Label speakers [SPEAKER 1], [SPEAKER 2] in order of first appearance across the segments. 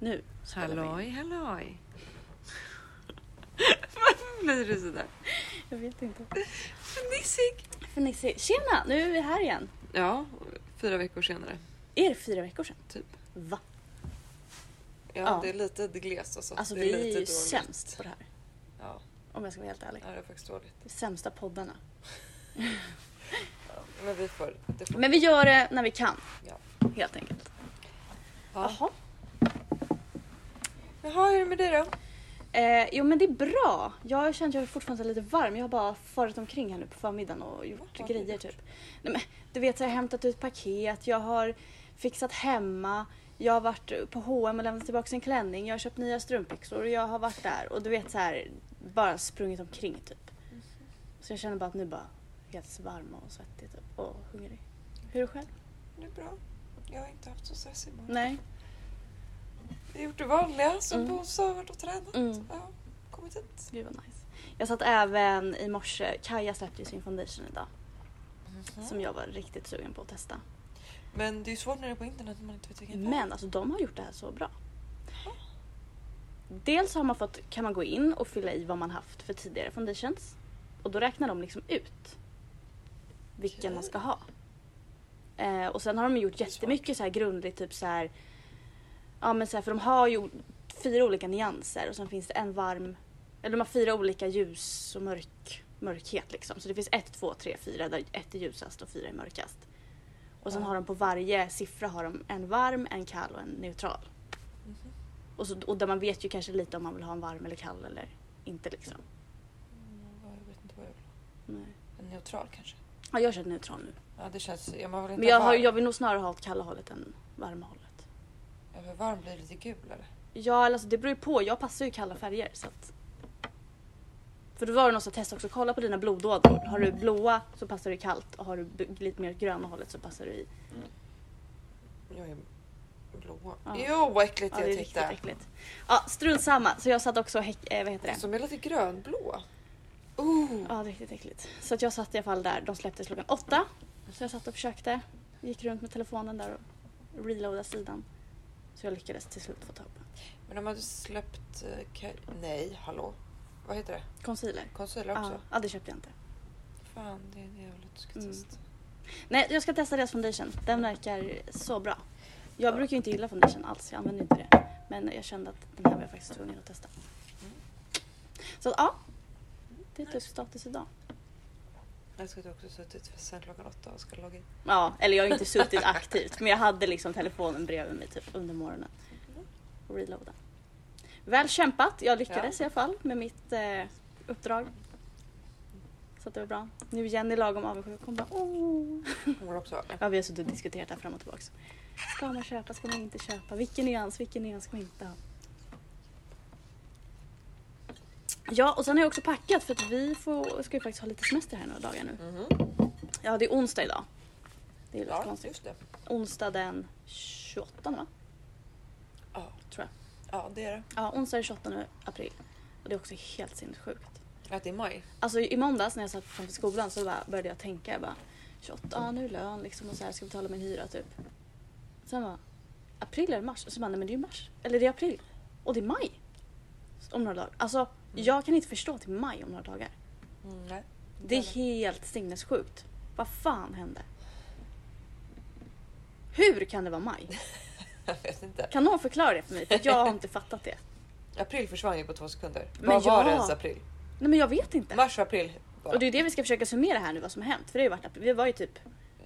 [SPEAKER 1] Nu spelar vi in.
[SPEAKER 2] Halloj, halloj. Varför blir du sådär?
[SPEAKER 1] Jag vet inte.
[SPEAKER 2] Fnissig.
[SPEAKER 1] Fnissig. Tjena! Nu är vi här igen.
[SPEAKER 2] Ja, fyra veckor senare.
[SPEAKER 1] Är det fyra veckor sedan?
[SPEAKER 2] Typ.
[SPEAKER 1] Va?
[SPEAKER 2] Ja,
[SPEAKER 1] Ja.
[SPEAKER 2] det är lite glest alltså.
[SPEAKER 1] Alltså
[SPEAKER 2] det
[SPEAKER 1] vi är
[SPEAKER 2] lite
[SPEAKER 1] ju
[SPEAKER 2] dåligt.
[SPEAKER 1] sämst på det här.
[SPEAKER 2] Ja,
[SPEAKER 1] Om jag ska vara helt ärlig.
[SPEAKER 2] det är faktiskt dåligt.
[SPEAKER 1] Sämsta poddarna.
[SPEAKER 2] Ja, men vi får... Det får
[SPEAKER 1] Men vi gör det när vi kan.
[SPEAKER 2] Ja.
[SPEAKER 1] Helt enkelt.
[SPEAKER 2] ja.
[SPEAKER 1] Jaha.
[SPEAKER 2] Jaha, hur är det med dig då?
[SPEAKER 1] Eh, jo men det är bra. Jag känner att jag är fortfarande lite varm. Jag har bara farit omkring här nu på förmiddagen och
[SPEAKER 2] Vad
[SPEAKER 1] gjort
[SPEAKER 2] har du
[SPEAKER 1] grejer
[SPEAKER 2] gjort?
[SPEAKER 1] typ. Nej, men, du vet så jag har hämtat ut paket, jag har fixat hemma, jag har varit på H&M och lämnat tillbaka en klänning, jag har köpt nya strumpbyxor och jag har varit där och du vet så här bara sprungit omkring typ. Så jag känner bara att nu bara helt varm och svettig typ, och hungrig. Hur är du själv?
[SPEAKER 2] Det är bra. Jag har inte haft så stressig morgon.
[SPEAKER 1] Nej.
[SPEAKER 2] Jag har gjort det vanliga som
[SPEAKER 1] Mm.
[SPEAKER 2] på sövart och tränat.
[SPEAKER 1] Mm.
[SPEAKER 2] Ja, kommit hit.
[SPEAKER 1] Gud vad nice. Jag satt även i morse, Kaja släppte ju sin foundation idag som jag var riktigt sugen på att testa.
[SPEAKER 2] Men det är ju svårt när det är på internet när man inte vet vilken
[SPEAKER 1] Men alltså de har gjort det här så bra.
[SPEAKER 2] Ja.
[SPEAKER 1] Dels har man fått, kan man gå in och fylla i vad man haft för tidigare foundations. Och då räknar de liksom ut vilken
[SPEAKER 2] Okej.
[SPEAKER 1] man ska ha. Eh, och sen har de gjort
[SPEAKER 2] Det är
[SPEAKER 1] jättemycket så här grundligt, typ så här. Ja men så här, för de har ju fyra olika nyanser och sen finns det en varm, eller de har fyra olika ljus och mörk, mörkhet liksom. Så det finns ett, två, tre, fyra där ett är ljusast och fyra är mörkast. Och sen
[SPEAKER 2] Ja.
[SPEAKER 1] har de på varje siffra har de en varm, en kall och en neutral.
[SPEAKER 2] Mhm.
[SPEAKER 1] Och, så, och där man vet ju kanske lite om man vill ha en varm eller kall eller inte liksom.
[SPEAKER 2] Mm, Jag vet inte vad jag vill ha.
[SPEAKER 1] Nej.
[SPEAKER 2] En neutral kanske?
[SPEAKER 1] Ja, jag kör neutral nu.
[SPEAKER 2] Ja, det känns... Ja, man vill inte
[SPEAKER 1] Men jag, har,
[SPEAKER 2] varm.
[SPEAKER 1] jag vill nog snarare ha åt kalla hållet än varma hållet.
[SPEAKER 2] Ja, för varm blir lite gul eller?
[SPEAKER 1] Ja, eller alltså det beror ju på. Jag passar ju kalla färger så att... För då var det någon som testade också. Kolla på dina blodådror. Har du blåa så passar du i kallt och har du b- lite mer gröna hållet så passar du i...
[SPEAKER 2] Jag är blå.
[SPEAKER 1] Ja.
[SPEAKER 2] Jo, vad äckligt
[SPEAKER 1] Ja, det är
[SPEAKER 2] jag
[SPEAKER 1] riktigt
[SPEAKER 2] tyckte.
[SPEAKER 1] äckligt. Ja, strunt samma. Så jag satt också och häck... eh, vad heter det?
[SPEAKER 2] Som är lite grönblå. Oh.
[SPEAKER 1] Ja, det är riktigt äckligt. Så att jag satt i alla fall där. De släpptes klockan åtta. Så jag satt och försökte. Gick runt med telefonen där och reloadade sidan. Så jag lyckades till slut få tag på
[SPEAKER 2] Men de hade släppt... eh, Ka- Nej, hallå. Vad heter det?
[SPEAKER 1] concealer.
[SPEAKER 2] Concealer också?
[SPEAKER 1] Ja, ja, det köpte jag inte.
[SPEAKER 2] Fan, det är det jag vill att du ska
[SPEAKER 1] Mm.
[SPEAKER 2] testa.
[SPEAKER 1] Nej, jag ska testa deras foundation. Den verkar så bra. Jag brukar ju inte gilla foundation alls. Jag använder inte det. Men jag kände att den här var jag faktiskt tvungen att testa.
[SPEAKER 2] Mm.
[SPEAKER 1] Så att, ja. Det är typ status idag.
[SPEAKER 2] Jag ska också suttit sen klockan åtta och ska logga in.
[SPEAKER 1] Ja, eller jag har ju inte suttit aktivt men jag hade liksom telefonen bredvid mig typ under morgonen.
[SPEAKER 2] Mm.
[SPEAKER 1] Och reloada. Väl kämpat, jag lyckades i alla fall med mitt eh, uppdrag. Så att det var bra. Nu är Jenny lagom avundsjuk. Hon bara åh.
[SPEAKER 2] Hon vill också ha det.
[SPEAKER 1] Ja, vi har suttit och diskuterat det här fram och tillbaka. Ska man köpa, ska man inte köpa? Vilken nyans, vilken nyans ska man inte ha? Ja, och sen har jag också packat för att vi får, ska ju faktiskt ha lite semester här några dagar nu.
[SPEAKER 2] Mhm.
[SPEAKER 1] Ja, det är onsdag idag. Det är lite
[SPEAKER 2] Ja,
[SPEAKER 1] konstigt
[SPEAKER 2] just det.
[SPEAKER 1] onsdag den 28 va?
[SPEAKER 2] Ja.
[SPEAKER 1] Tror jag.
[SPEAKER 2] Ja, det är det.
[SPEAKER 1] Ja, onsdag den 28 nu, april. Och det är också helt sinnessjukt.
[SPEAKER 2] Att det är maj.
[SPEAKER 1] Alltså i måndags när jag satt framför skolan så bara började jag tänka jag bara 28, ja nu är lön liksom och så här ska betala min hyra typ. Sen bara april eller mars? Och så bara nej men det är ju mars. Eller det är april. Och det är maj. Om några dagar. Alltså jag kan inte förstå att det är maj om några dagar.
[SPEAKER 2] Mm, nej.
[SPEAKER 1] Det är helt sinnessjukt. Vad fan hände? Hur kan det vara maj?
[SPEAKER 2] Jag vet inte.
[SPEAKER 1] Kan någon förklara det för mig? För att jag har inte fattat det.
[SPEAKER 2] April försvann ju på två sekunder.
[SPEAKER 1] Men
[SPEAKER 2] Vad var
[SPEAKER 1] ja.
[SPEAKER 2] det ens april?
[SPEAKER 1] Nej men jag vet inte.
[SPEAKER 2] Mars och april. bara.
[SPEAKER 1] Och det är ju det vi ska försöka summera här nu vad som har hänt. För det har ju varit, vi var ju typ,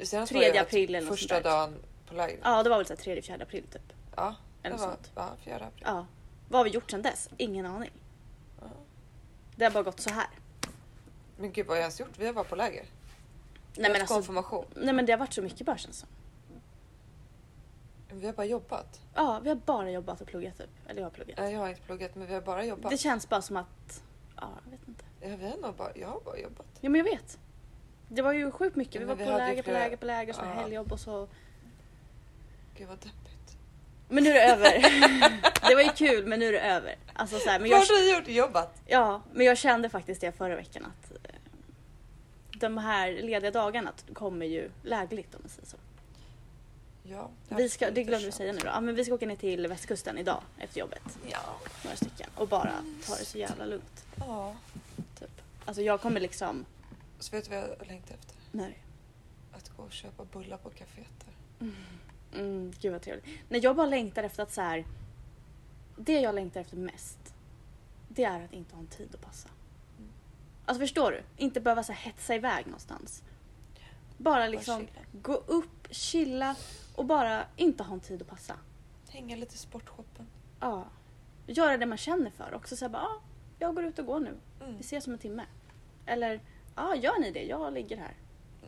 [SPEAKER 2] Senast
[SPEAKER 1] tredje
[SPEAKER 2] var det att
[SPEAKER 1] april eller något
[SPEAKER 2] Första
[SPEAKER 1] sånt där.
[SPEAKER 2] dagen på lägret.
[SPEAKER 1] ja det var väl såhär 3 4 april typ.
[SPEAKER 2] Ja, det
[SPEAKER 1] Eller
[SPEAKER 2] var
[SPEAKER 1] sånt.
[SPEAKER 2] ja, fjärde april.
[SPEAKER 1] Ja. Vad har vi gjort sedan dess? Ingen aning.
[SPEAKER 2] Ja.
[SPEAKER 1] Det har bara gått så här.
[SPEAKER 2] Men gud vad har jag ens gjort? Vi var på läger.
[SPEAKER 1] Nej men,
[SPEAKER 2] Haft
[SPEAKER 1] alltså,
[SPEAKER 2] Konfirmation.
[SPEAKER 1] nej men det har varit så mycket bara känns det som.
[SPEAKER 2] Vi har bara jobbat.
[SPEAKER 1] Ja vi har bara jobbat och pluggat typ. Eller jag har pluggat.
[SPEAKER 2] Nej, Jag har inte pluggat men vi har bara jobbat.
[SPEAKER 1] Det känns bara som att, ja jag vet inte.
[SPEAKER 2] Ja, vi har nog bara, jag har bara jobbat.
[SPEAKER 1] Ja men jag vet. Det var ju sjukt mycket.
[SPEAKER 2] Ja,
[SPEAKER 1] Vi
[SPEAKER 2] men
[SPEAKER 1] var
[SPEAKER 2] vi
[SPEAKER 1] på
[SPEAKER 2] hade ju
[SPEAKER 1] läger, på
[SPEAKER 2] flera-
[SPEAKER 1] läger, på läger, så
[SPEAKER 2] Ja.
[SPEAKER 1] helgjobb och så.
[SPEAKER 2] Gud vad deppigt.
[SPEAKER 1] Men nu är det över. det var ju kul men nu är det över. Alltså så här, men
[SPEAKER 2] Vad
[SPEAKER 1] jag
[SPEAKER 2] har du gjort? Jobbat?
[SPEAKER 1] Ja, men jag kände faktiskt det förra veckan att eh, de här lediga dagarna t- kommer ju lägligt om man säger så.
[SPEAKER 2] Ja,
[SPEAKER 1] Vi ska,
[SPEAKER 2] absolut,
[SPEAKER 1] det glömde vi
[SPEAKER 2] sant.
[SPEAKER 1] säga nu då. Ja, men vi ska åka ner till västkusten idag efter jobbet.
[SPEAKER 2] Ja.
[SPEAKER 1] Några stycken. Och bara ta det så jävla lugnt.
[SPEAKER 2] ja.
[SPEAKER 1] Typ. Alltså jag kommer liksom...
[SPEAKER 2] Så vet du vad jag längtar efter?
[SPEAKER 1] Nej.
[SPEAKER 2] Att gå och köpa bullar på kaféet där.
[SPEAKER 1] Mm, gud vad trevligt. Nej, jag bara längtar efter att så här. Det jag längtar efter mest, det är att inte ha en tid att passa.
[SPEAKER 2] Mm.
[SPEAKER 1] Alltså förstår du? Inte behöva så här, hetsa iväg någonstans. Bara liksom
[SPEAKER 2] chilla.
[SPEAKER 1] gå upp, chilla och bara inte ha en tid att passa.
[SPEAKER 2] Hänga lite i sportshoppen.
[SPEAKER 1] Ja. Göra det man känner för också. Så här, bara, ja, jag går ut och går nu.
[SPEAKER 2] Mm.
[SPEAKER 1] Vi ses om en timme. Eller, ja, gör ni det? Jag ligger här.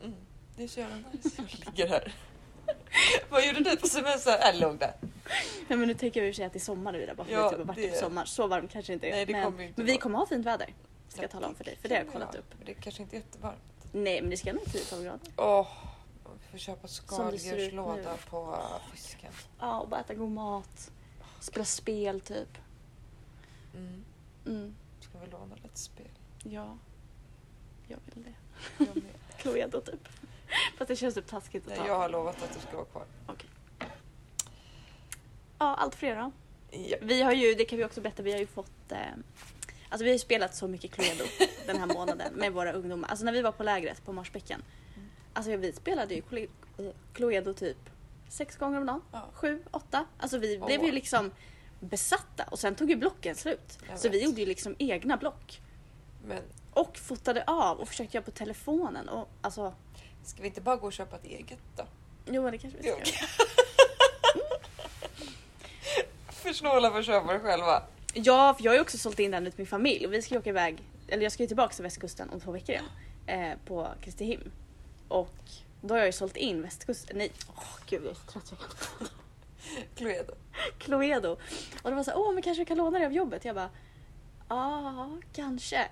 [SPEAKER 2] Mm. Det är så jävla nice. Jag ligger här. vad gjorde du på semestern? Jag låg där.
[SPEAKER 1] Nej, men nu tänker jag i och för sig att det är sommar nu där bara för
[SPEAKER 2] Ja,
[SPEAKER 1] att det har varit
[SPEAKER 2] det-
[SPEAKER 1] typ sommar. Så varmt kanske inte är.
[SPEAKER 2] Nej, det
[SPEAKER 1] men,
[SPEAKER 2] kommer ju inte
[SPEAKER 1] men vi
[SPEAKER 2] vara.
[SPEAKER 1] kommer ha fint väder. Ska jag tala om för dig. För det har jag kollat upp.
[SPEAKER 2] Men det är kanske inte är jättevarmt.
[SPEAKER 1] Nej, men det ska nog 10-12 grader.
[SPEAKER 2] Åh, vi får köpa
[SPEAKER 1] Som det ser ut nu.
[SPEAKER 2] skaldjurslåda på fisken.
[SPEAKER 1] Ja, och bara äta god mat. Spela spel typ.
[SPEAKER 2] Mm.
[SPEAKER 1] Mm.
[SPEAKER 2] Ska vi låna lite spel?
[SPEAKER 1] Ja. Jag vill det.
[SPEAKER 2] Jag, med.
[SPEAKER 1] Cluedo typ. Fast det känns typ taskigt att
[SPEAKER 2] Nej,
[SPEAKER 1] ta.
[SPEAKER 2] jag har lovat att du ska vara kvar.
[SPEAKER 1] Ja, allt för er då.
[SPEAKER 2] Ja.
[SPEAKER 1] Vi har ju, det kan vi också berätta, vi har ju fått eh, Alltså vi har ju spelat så mycket Cluedo den här månaden med våra ungdomar. Alltså när vi var på lägret på Marsbäcken.
[SPEAKER 2] Mm.
[SPEAKER 1] Alltså vi spelade ju Cle- eh, Cluedo typ sex gånger om dagen.
[SPEAKER 2] Ja.
[SPEAKER 1] Sju, åtta. Alltså vi
[SPEAKER 2] Åh.
[SPEAKER 1] blev ju liksom besatta och sen tog ju blocken slut.
[SPEAKER 2] Jag
[SPEAKER 1] Så vi
[SPEAKER 2] vet.
[SPEAKER 1] gjorde ju liksom egna block.
[SPEAKER 2] Men
[SPEAKER 1] Och fotade av och försökte göra på telefonen och alltså
[SPEAKER 2] ska vi inte bara gå och köpa ett eget då?
[SPEAKER 1] Jo men det kanske vi ska
[SPEAKER 2] Jo.
[SPEAKER 1] göra.
[SPEAKER 2] För snåla för att köpa det själva.
[SPEAKER 1] Ja, för jag har ju också sålt in den ut min familj och vi ska ju åka iväg, eller jag ska ju tillbaka till västkusten om två veckor igen. Eh, på Kristiheim. Och då har jag ju sålt in västkusten, nej, åh gud jag är så trött. jag kan-
[SPEAKER 2] Cluedo.
[SPEAKER 1] Cluedo. Och det var så här, åh men kanske vi kan låna det av jobbet? Jag bara, ja kanske.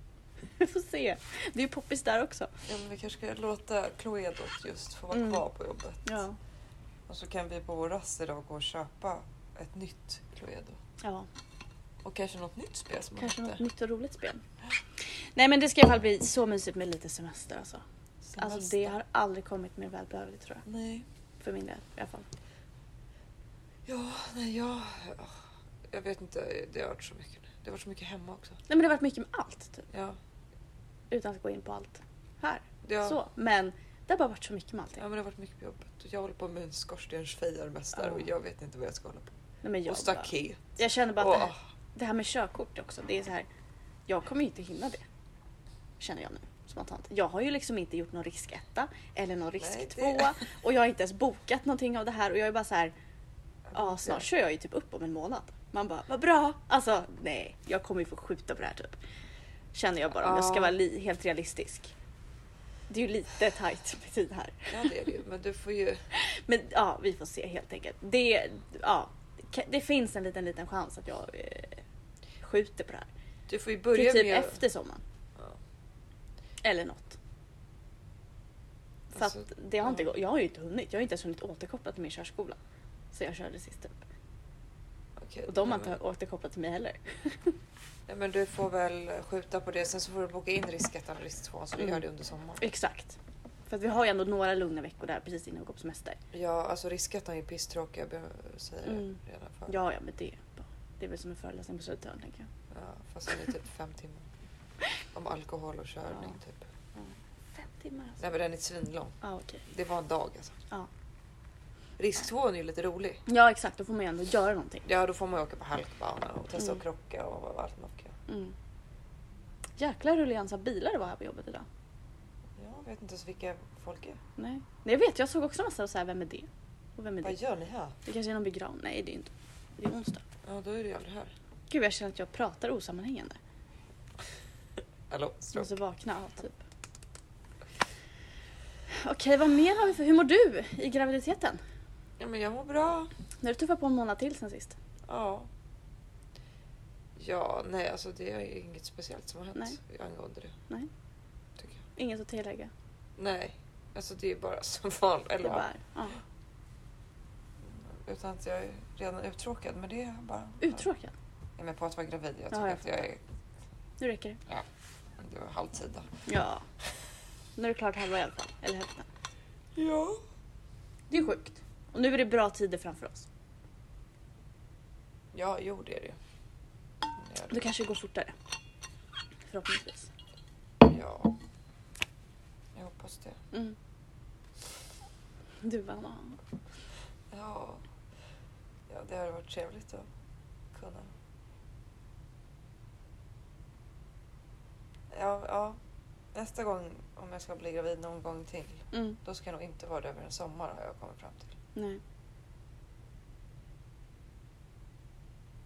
[SPEAKER 1] Vi får se. Det är ju poppis där också.
[SPEAKER 2] Ja, men vi kanske ska låta Cluedo just få vara
[SPEAKER 1] Mm.
[SPEAKER 2] kvar på jobbet.
[SPEAKER 1] Ja.
[SPEAKER 2] Och så kan vi på vår rast idag gå och köpa ett nytt Cluedo.
[SPEAKER 1] Ja,
[SPEAKER 2] Och kanske något nytt spel som man
[SPEAKER 1] kanske något
[SPEAKER 2] hittar.
[SPEAKER 1] nytt och roligt spel. Nej men det ska i alla fall bli så mysigt med lite semester alltså. Alltså det
[SPEAKER 2] Semester.
[SPEAKER 1] har aldrig kommit mer välbehövligt tror
[SPEAKER 2] Nej.
[SPEAKER 1] jag. För min del i alla fall.
[SPEAKER 2] Ja, nej jag... Jag vet inte, det har varit så mycket nu. Det har varit så mycket hemma också.
[SPEAKER 1] Nej men det har varit mycket med allt typ.
[SPEAKER 2] Ja.
[SPEAKER 1] Utan att gå in på allt här.
[SPEAKER 2] Ja.
[SPEAKER 1] Så. Men det har bara varit så mycket med allting.
[SPEAKER 2] Ja men det har varit mycket på jobbet. Och Jag håller på med en skorstensfejarmästare
[SPEAKER 1] Ja.
[SPEAKER 2] och jag vet inte vad jag ska hålla på med.
[SPEAKER 1] Nej, men jag,
[SPEAKER 2] Och
[SPEAKER 1] bara,
[SPEAKER 2] staket.
[SPEAKER 1] jag känner bara att det här,
[SPEAKER 2] Åh,
[SPEAKER 1] det här med körkort också, det är så här. Jag kommer ju inte hinna det. Känner jag nu spontant. Jag har ju liksom inte gjort någon risketta eller någon risktvåa och jag har inte ens bokat någonting av det här och jag är bara så här. Ja snart kör jag ju typ upp om en månad. Man bara vad bra. Alltså nej, jag kommer ju få skjuta på det här typ. Känner jag bara om jag ska
[SPEAKER 2] Ja.
[SPEAKER 1] vara li- helt realistisk. Det är ju lite tajt med tid här.
[SPEAKER 2] Ja det är det ju. Men du får ju...
[SPEAKER 1] Men ja, vi får se helt enkelt. Det, ja, det finns en liten, liten chans att jag eh, skjuter på det här.
[SPEAKER 2] Du får ju
[SPEAKER 1] Till
[SPEAKER 2] börja
[SPEAKER 1] typ
[SPEAKER 2] med...
[SPEAKER 1] efter sommaren.
[SPEAKER 2] Ja.
[SPEAKER 1] Eller något. För
[SPEAKER 2] Alltså,
[SPEAKER 1] att det har inte
[SPEAKER 2] ja.
[SPEAKER 1] gått. Jag har ju inte hunnit. Jag har inte ens hunnit återkoppla till min körskola. Så jag körde sist upp.
[SPEAKER 2] okej.
[SPEAKER 1] Och de har
[SPEAKER 2] Nej,
[SPEAKER 1] inte
[SPEAKER 2] men-
[SPEAKER 1] återkopplat till mig heller.
[SPEAKER 2] Nej men du får väl skjuta på det. Sen så får du boka in riskettan och risktvåan så vi
[SPEAKER 1] Mm.
[SPEAKER 2] gör det under sommaren.
[SPEAKER 1] Exakt. För att vi har ju ändå några lugna veckor där precis innan vi går på semester.
[SPEAKER 2] Ja alltså riskettan är ju pisstråkig. Jag behöver säga det
[SPEAKER 1] Mm.
[SPEAKER 2] redan för.
[SPEAKER 1] Ja, ja, men det, det är väl som en föreläsning på Södertörn tänker jag.
[SPEAKER 2] Ja, fast den är typ fem timmar. Om alkohol och körning typ.
[SPEAKER 1] Fem timmar alltså.
[SPEAKER 2] Nej men den är svinlång.
[SPEAKER 1] Ja, okej.
[SPEAKER 2] Det var en dag alltså.
[SPEAKER 1] Ja.
[SPEAKER 2] Risktvåan är ju lite rolig.
[SPEAKER 1] Ja, exakt. Då får man ju ändå göra någonting.
[SPEAKER 2] Ja, då får man ju åka på halkbana och testa
[SPEAKER 1] Mm.
[SPEAKER 2] att krocka och vad- allt man kan.
[SPEAKER 1] Mm. Jäklar hur ruljans av bilar det var här på jobbet idag.
[SPEAKER 2] Jag vet inte ens vilka folk är.
[SPEAKER 1] Nej. Nej, jag vet, jag såg också massa så här, vem är det? Och vem är
[SPEAKER 2] Vad
[SPEAKER 1] det?
[SPEAKER 2] gör ni här?
[SPEAKER 1] Det kanske är någon begravning? Nej, det är inte. Det är onsdag.
[SPEAKER 2] Ja, då är det ju aldrig här.
[SPEAKER 1] Gud, jag känner att jag pratar osammanhängande.
[SPEAKER 2] Hallå,
[SPEAKER 1] Jag
[SPEAKER 2] stroke.
[SPEAKER 1] måste vakna av typ. Okej, vad mer har vi för... Hur mår du i graviditeten?
[SPEAKER 2] Ja, men jag mår bra.
[SPEAKER 1] Nu har du tuffat på en månad till sen sist.
[SPEAKER 2] Ja. Ja, nej, alltså det är ju inget speciellt som har hänt angående det.
[SPEAKER 1] Nej.
[SPEAKER 2] Tycker jag.
[SPEAKER 1] Inget att tillägga.
[SPEAKER 2] Nej, alltså det är bara som vanligt.
[SPEAKER 1] Det
[SPEAKER 2] Eller,
[SPEAKER 1] är bara, ja.
[SPEAKER 2] ja, Utan att jag är redan uttråkad, men det är bara...
[SPEAKER 1] Uttråkad.
[SPEAKER 2] Ja, men på att vara gravid. Jag
[SPEAKER 1] Ja,
[SPEAKER 2] tycker
[SPEAKER 1] jag
[SPEAKER 2] att jag är...
[SPEAKER 1] Nu räcker det.
[SPEAKER 2] Det var halvtid då.
[SPEAKER 1] Ja. Nu är det klart halva i alla fall. Eller hälften.
[SPEAKER 2] Ja.
[SPEAKER 1] Det är sjukt. Och nu är det bra tider framför oss.
[SPEAKER 2] Ja, jo det är det ju. Det är det.
[SPEAKER 1] Då kanske det går fortare. Förhoppningsvis.
[SPEAKER 2] Ja. Jag hoppas det.
[SPEAKER 1] Mm. Du bara, "Ah."
[SPEAKER 2] Ja. ja, det hade varit trevligt att kunna. Ja, ja. Nästa gång om jag ska bli gravid någon gång till,
[SPEAKER 1] mm.
[SPEAKER 2] då ska jag nog inte vara det över en sommar har jag kommit fram till.
[SPEAKER 1] Nej.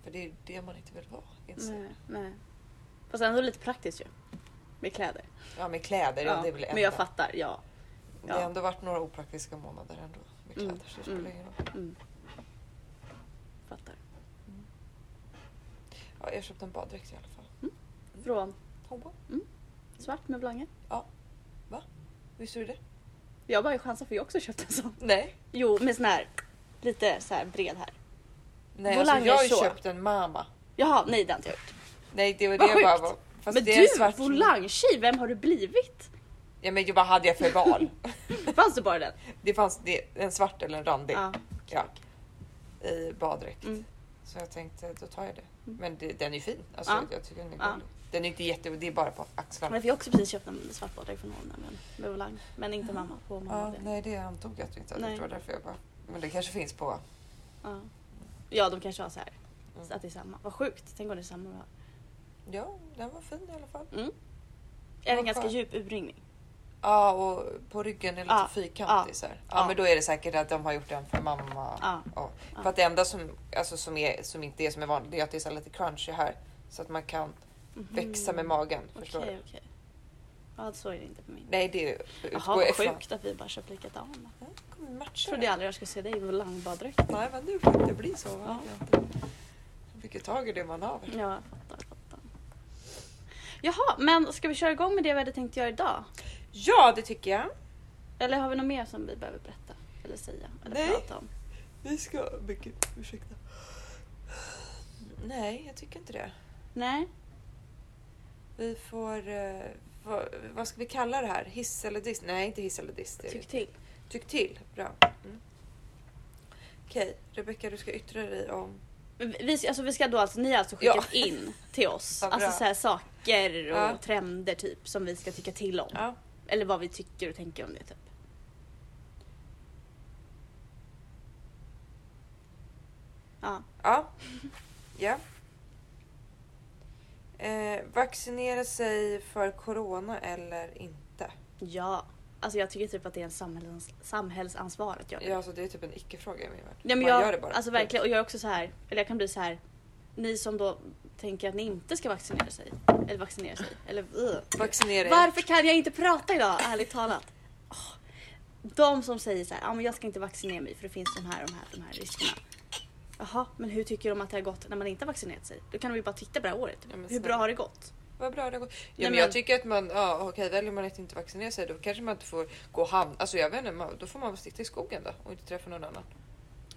[SPEAKER 2] För det är ju det man inte vill vara. inser jag.
[SPEAKER 1] Nej. Nej. Fast ändå lite praktiskt ju. Med kläder.
[SPEAKER 2] Ja, med kläder. Ja,
[SPEAKER 1] Ja,
[SPEAKER 2] det är väl
[SPEAKER 1] men jag
[SPEAKER 2] ändå-
[SPEAKER 1] fattar, ja.
[SPEAKER 2] Det har
[SPEAKER 1] ja.
[SPEAKER 2] ändå varit några opraktiska månader ändå med kläder,
[SPEAKER 1] Mm,
[SPEAKER 2] så det spelar
[SPEAKER 1] mm.
[SPEAKER 2] ingen roll.
[SPEAKER 1] Mm. Fattar.
[SPEAKER 2] Ja, jag köpte en baddräkt i alla fall.
[SPEAKER 1] Från
[SPEAKER 2] Hobbo.
[SPEAKER 1] svart med blanke.
[SPEAKER 2] Visste du det?
[SPEAKER 1] Jag bara chansar för jag också köpte en sån.
[SPEAKER 2] Nej.
[SPEAKER 1] Jo, med sån här lite så här bred här.
[SPEAKER 2] Nej,
[SPEAKER 1] Volanger
[SPEAKER 2] alltså, jag har ju
[SPEAKER 1] så.
[SPEAKER 2] köpt en mamma.
[SPEAKER 1] Jaha, nej det har inte jag gjort.
[SPEAKER 2] Nej, det var det
[SPEAKER 1] Vad
[SPEAKER 2] jag bara
[SPEAKER 1] sjukt.
[SPEAKER 2] var. Fast
[SPEAKER 1] men
[SPEAKER 2] det är
[SPEAKER 1] du,
[SPEAKER 2] svart-
[SPEAKER 1] volangtjej, vem har du blivit?
[SPEAKER 2] Ja, men vad hade jag för val?
[SPEAKER 1] Fanns det bara den?
[SPEAKER 2] det fanns det, en svart eller en randig
[SPEAKER 1] Ja.
[SPEAKER 2] ja, i baddräkt.
[SPEAKER 1] Ah, Mm.
[SPEAKER 2] Så jag tänkte, då tar jag det.
[SPEAKER 1] Mm.
[SPEAKER 2] Men det, den är ju fin. Alltså,
[SPEAKER 1] Ja.
[SPEAKER 2] Jag tycker den är
[SPEAKER 1] Ja.
[SPEAKER 2] gullig. Den är inte jätte... Det är bara på axlarna.
[SPEAKER 1] Men vi har också precis köpt en svart baddräkt från Holmen men med volang. Men inte mamma på mamma.
[SPEAKER 2] Ja,
[SPEAKER 1] det.
[SPEAKER 2] nej, det antog jag att du inte hade
[SPEAKER 1] Nej.
[SPEAKER 2] gjort. Det var därför jag bara... Men det kanske finns på...
[SPEAKER 1] Ja. ja, de kanske har så här.
[SPEAKER 2] Mm.
[SPEAKER 1] Att det är samma. Vad sjukt, tänk om det är samma vi har.
[SPEAKER 2] Ja, den var fin i alla fall.
[SPEAKER 1] Är det en
[SPEAKER 2] Vad
[SPEAKER 1] ganska
[SPEAKER 2] skönt.
[SPEAKER 1] djup urringning?
[SPEAKER 2] Ja, och på ryggen är lite
[SPEAKER 1] Ja,
[SPEAKER 2] fyrkantig
[SPEAKER 1] ja,
[SPEAKER 2] så här. Ja,
[SPEAKER 1] ja.
[SPEAKER 2] men då är det säkert att de har gjort den för mamma.
[SPEAKER 1] Ja.
[SPEAKER 2] Ja.
[SPEAKER 1] Ja.
[SPEAKER 2] För att det enda som, alltså, som, är, som inte är som är vanligt det är att det är så här lite crunchy här. Så att man kan växa med magen. Förstår
[SPEAKER 1] Mm. Mhm. Okej,
[SPEAKER 2] du?
[SPEAKER 1] okej. Ja, så är det inte på min.
[SPEAKER 2] Nej, det
[SPEAKER 1] Jaha,
[SPEAKER 2] utgår jag
[SPEAKER 1] vad
[SPEAKER 2] ifrån.
[SPEAKER 1] sjukt att vi bara köpt likadana.
[SPEAKER 2] Ja, det kommer matcha
[SPEAKER 1] Trodde
[SPEAKER 2] det.
[SPEAKER 1] jag aldrig jag skulle se dig i volangbadräkt.
[SPEAKER 2] Nej, men nu får det bli så. Va?
[SPEAKER 1] Ja.
[SPEAKER 2] Man fick ju tag i det man har.
[SPEAKER 1] Ja, jag fattar, jag fattar. Jaha, men ska vi köra igång med det vi hade tänkt göra idag?
[SPEAKER 2] Ja, det tycker jag.
[SPEAKER 1] Eller har vi något mer som vi behöver berätta? Eller säga? Eller
[SPEAKER 2] Nej.
[SPEAKER 1] prata om?
[SPEAKER 2] Vi ska... Mycket, ursäkta. Nej, jag tycker inte det.
[SPEAKER 1] Nej?
[SPEAKER 2] Vi får... eh, vad, vad ska vi kalla det här? Hiss eller diss? Nej, inte hiss eller diss. det är det
[SPEAKER 1] Tyck till.
[SPEAKER 2] Tyck till. Bra. Mm. Okej, Rebecka, du ska yttra dig om...
[SPEAKER 1] Vi, alltså, vi ska då alltså, ni har alltså skickat
[SPEAKER 2] Ja.
[SPEAKER 1] in till oss
[SPEAKER 2] Vad bra.
[SPEAKER 1] alltså, så här, saker och
[SPEAKER 2] Ja.
[SPEAKER 1] trender typ som vi ska tycka till om.
[SPEAKER 2] Ja.
[SPEAKER 1] Eller vad vi tycker och tänker om det typ. Ja.
[SPEAKER 2] Ja. ja. Eh, vaccinera sig för corona eller inte?
[SPEAKER 1] Ja. Alltså jag tycker typ att det är en samhällsans- samhällsansvar att göra det.
[SPEAKER 2] Ja, alltså, det är typ en icke-fråga i min värld.
[SPEAKER 1] Ja, men
[SPEAKER 2] Man
[SPEAKER 1] jag,
[SPEAKER 2] gör det bara.
[SPEAKER 1] Alltså verkligen, och jag är också så här, eller jag kan bli så här. Ni som då tänker att ni inte ska vaccinera sig, eller vaccinera sig, eller ugh.
[SPEAKER 2] Vaccinera er.
[SPEAKER 1] Varför kan jag inte prata idag, ärligt talat? Åh. De som säger så här, ja men jag ska inte vaccinera mig för det finns de här, de här, de här riskerna. Jaha, men hur tycker de att det har gått när man inte har vaccinerat sig? Då kan de ju bara titta på det här året.
[SPEAKER 2] Ja, men
[SPEAKER 1] hur
[SPEAKER 2] snälla.
[SPEAKER 1] bra har det gått?
[SPEAKER 2] Vad bra det går. Ja,
[SPEAKER 1] Nej,
[SPEAKER 2] men jag
[SPEAKER 1] men-
[SPEAKER 2] tycker att man, ja okej, väljer man att inte vaccinera sig då kanske man inte får gå och hamna, alltså jag vet inte, man, då får man väl sitta i skogen då och inte träffa någon annan.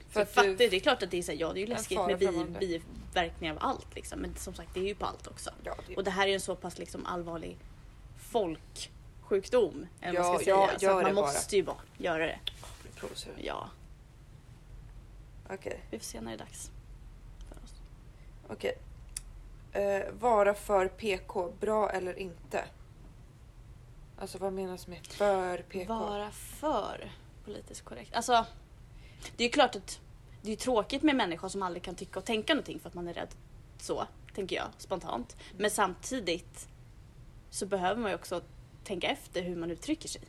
[SPEAKER 1] För
[SPEAKER 2] att
[SPEAKER 1] fattar,
[SPEAKER 2] du-
[SPEAKER 1] det är klart att det är så här, ja det är ju
[SPEAKER 2] En
[SPEAKER 1] läskigt
[SPEAKER 2] fara
[SPEAKER 1] med
[SPEAKER 2] främmande.
[SPEAKER 1] bi, biverkningar av allt liksom. Men som sagt det är ju på allt också.
[SPEAKER 2] ja, det,
[SPEAKER 1] Och det här är ju en så pass liksom allvarlig folksjukdom. Eller
[SPEAKER 2] Ja,
[SPEAKER 1] vad man ska
[SPEAKER 2] ja,
[SPEAKER 1] säga.
[SPEAKER 2] gör
[SPEAKER 1] Så att
[SPEAKER 2] det
[SPEAKER 1] man
[SPEAKER 2] bara.
[SPEAKER 1] måste ju bara göra det.
[SPEAKER 2] blir provocerande.
[SPEAKER 1] Ja,
[SPEAKER 2] Okej,
[SPEAKER 1] vi får se när det är dags. För oss.
[SPEAKER 2] okej. Eh, vara för PK, bra eller inte? Alltså vad menas med för PK?
[SPEAKER 1] Vara för politiskt korrekt. Alltså, det är ju klart att det är ju tråkigt med människor som aldrig kan tycka och tänka någonting för att man är rädd. Så, tänker jag spontant. Men samtidigt så behöver man ju också tänka efter hur man uttrycker sig.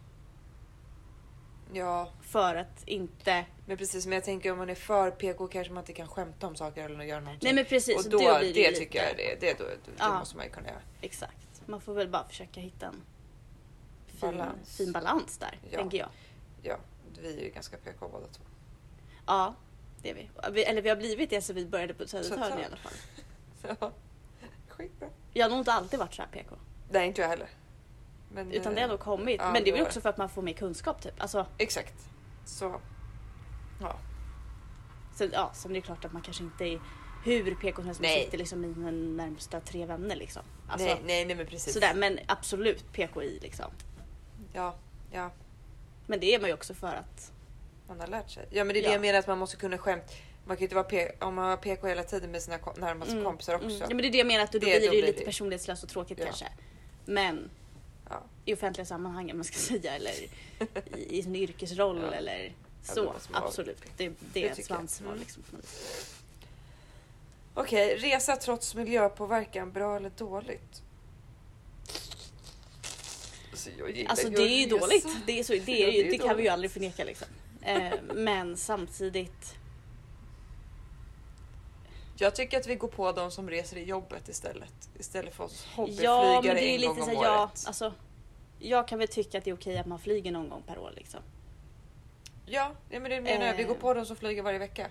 [SPEAKER 2] Ja,
[SPEAKER 1] För att inte...
[SPEAKER 2] men precis, men jag tänker om man är för PK kanske man inte kan skämta om saker eller göra någonting.
[SPEAKER 1] Nej men precis,
[SPEAKER 2] och då,
[SPEAKER 1] då
[SPEAKER 2] det,
[SPEAKER 1] blir det, ju
[SPEAKER 2] tycker jag
[SPEAKER 1] lite-
[SPEAKER 2] det, det, då, det
[SPEAKER 1] Ja.
[SPEAKER 2] måste man ju kunna göra.
[SPEAKER 1] Exakt. Man får väl bara försöka hitta en fin
[SPEAKER 2] Balans.
[SPEAKER 1] balans, fin balans där,
[SPEAKER 2] Ja.
[SPEAKER 1] tänker jag.
[SPEAKER 2] Ja, vi är ju ganska PK båda två.
[SPEAKER 1] Ja, det är vi. vi. Eller vi har blivit det sen vi började på Södertörn
[SPEAKER 2] Södertörn.
[SPEAKER 1] i alla fall.
[SPEAKER 2] Ja, skitbra.
[SPEAKER 1] Jag har nog inte alltid varit så här PK.
[SPEAKER 2] Nej, inte jag heller. Men, eh,
[SPEAKER 1] Utan det har nog kommit.
[SPEAKER 2] ja,
[SPEAKER 1] Men det är
[SPEAKER 2] det
[SPEAKER 1] väl
[SPEAKER 2] var
[SPEAKER 1] också för att man får mer kunskap typ. Alltså,
[SPEAKER 2] Exakt. Så.
[SPEAKER 1] sen, ja, sen är det klart att man kanske inte är hur PK som helst. Man
[SPEAKER 2] Nej.
[SPEAKER 1] sitter liksom i mina närmsta tre vänner liksom. Alltså,
[SPEAKER 2] nej, nej, nej, men precis.
[SPEAKER 1] Sådär, men absolut PKI liksom.
[SPEAKER 2] Ja, ja.
[SPEAKER 1] Men det är man ju också för att
[SPEAKER 2] man har lärt sig. Ja men det är det
[SPEAKER 1] Ja.
[SPEAKER 2] jag menar att man måste kunna skämt. Man kan ju inte vara P- om man var PK hela tiden med sina kom- närmaste
[SPEAKER 1] Mm,
[SPEAKER 2] kompisar också.
[SPEAKER 1] Mm. Ja, men det är det jag menar, att då
[SPEAKER 2] Det-
[SPEAKER 1] blir
[SPEAKER 2] då
[SPEAKER 1] det ju
[SPEAKER 2] blir
[SPEAKER 1] lite
[SPEAKER 2] det-
[SPEAKER 1] personlighetslöst och tråkigt
[SPEAKER 2] Ja.
[SPEAKER 1] kanske. Men
[SPEAKER 2] Ja.
[SPEAKER 1] i offentliga sammanhang, om man ska säga, eller i, i sin yrkesroll
[SPEAKER 2] Ja.
[SPEAKER 1] eller
[SPEAKER 2] Ja,
[SPEAKER 1] så.
[SPEAKER 2] det måste man vara.
[SPEAKER 1] Absolut, det,
[SPEAKER 2] tycker
[SPEAKER 1] det är
[SPEAKER 2] jag.
[SPEAKER 1] ett svansval.
[SPEAKER 2] Mm.
[SPEAKER 1] Liksom, på något vis.
[SPEAKER 2] Okej, resa trots miljöpåverkan, bra eller dåligt? Alltså, jag gillar
[SPEAKER 1] Alltså det är ju
[SPEAKER 2] att
[SPEAKER 1] dåligt,
[SPEAKER 2] resa.
[SPEAKER 1] det, är så, det,
[SPEAKER 2] Ja,
[SPEAKER 1] är
[SPEAKER 2] det är
[SPEAKER 1] ju, det kan vi ju
[SPEAKER 2] dåligt.
[SPEAKER 1] aldrig förneka liksom. Eh, men samtidigt,
[SPEAKER 2] Jag tycker att vi går på de som reser i jobbet istället. Istället för oss hobbyflygare
[SPEAKER 1] ja men det är ju
[SPEAKER 2] en
[SPEAKER 1] lite
[SPEAKER 2] gång
[SPEAKER 1] så
[SPEAKER 2] om
[SPEAKER 1] här, ja,
[SPEAKER 2] året.
[SPEAKER 1] alltså, jag kan väl tycka att det är okej att man flyger någon gång per år liksom.
[SPEAKER 2] Ja, ja, men det menar jag. Vi
[SPEAKER 1] Eh.
[SPEAKER 2] går på de som flyger varje vecka.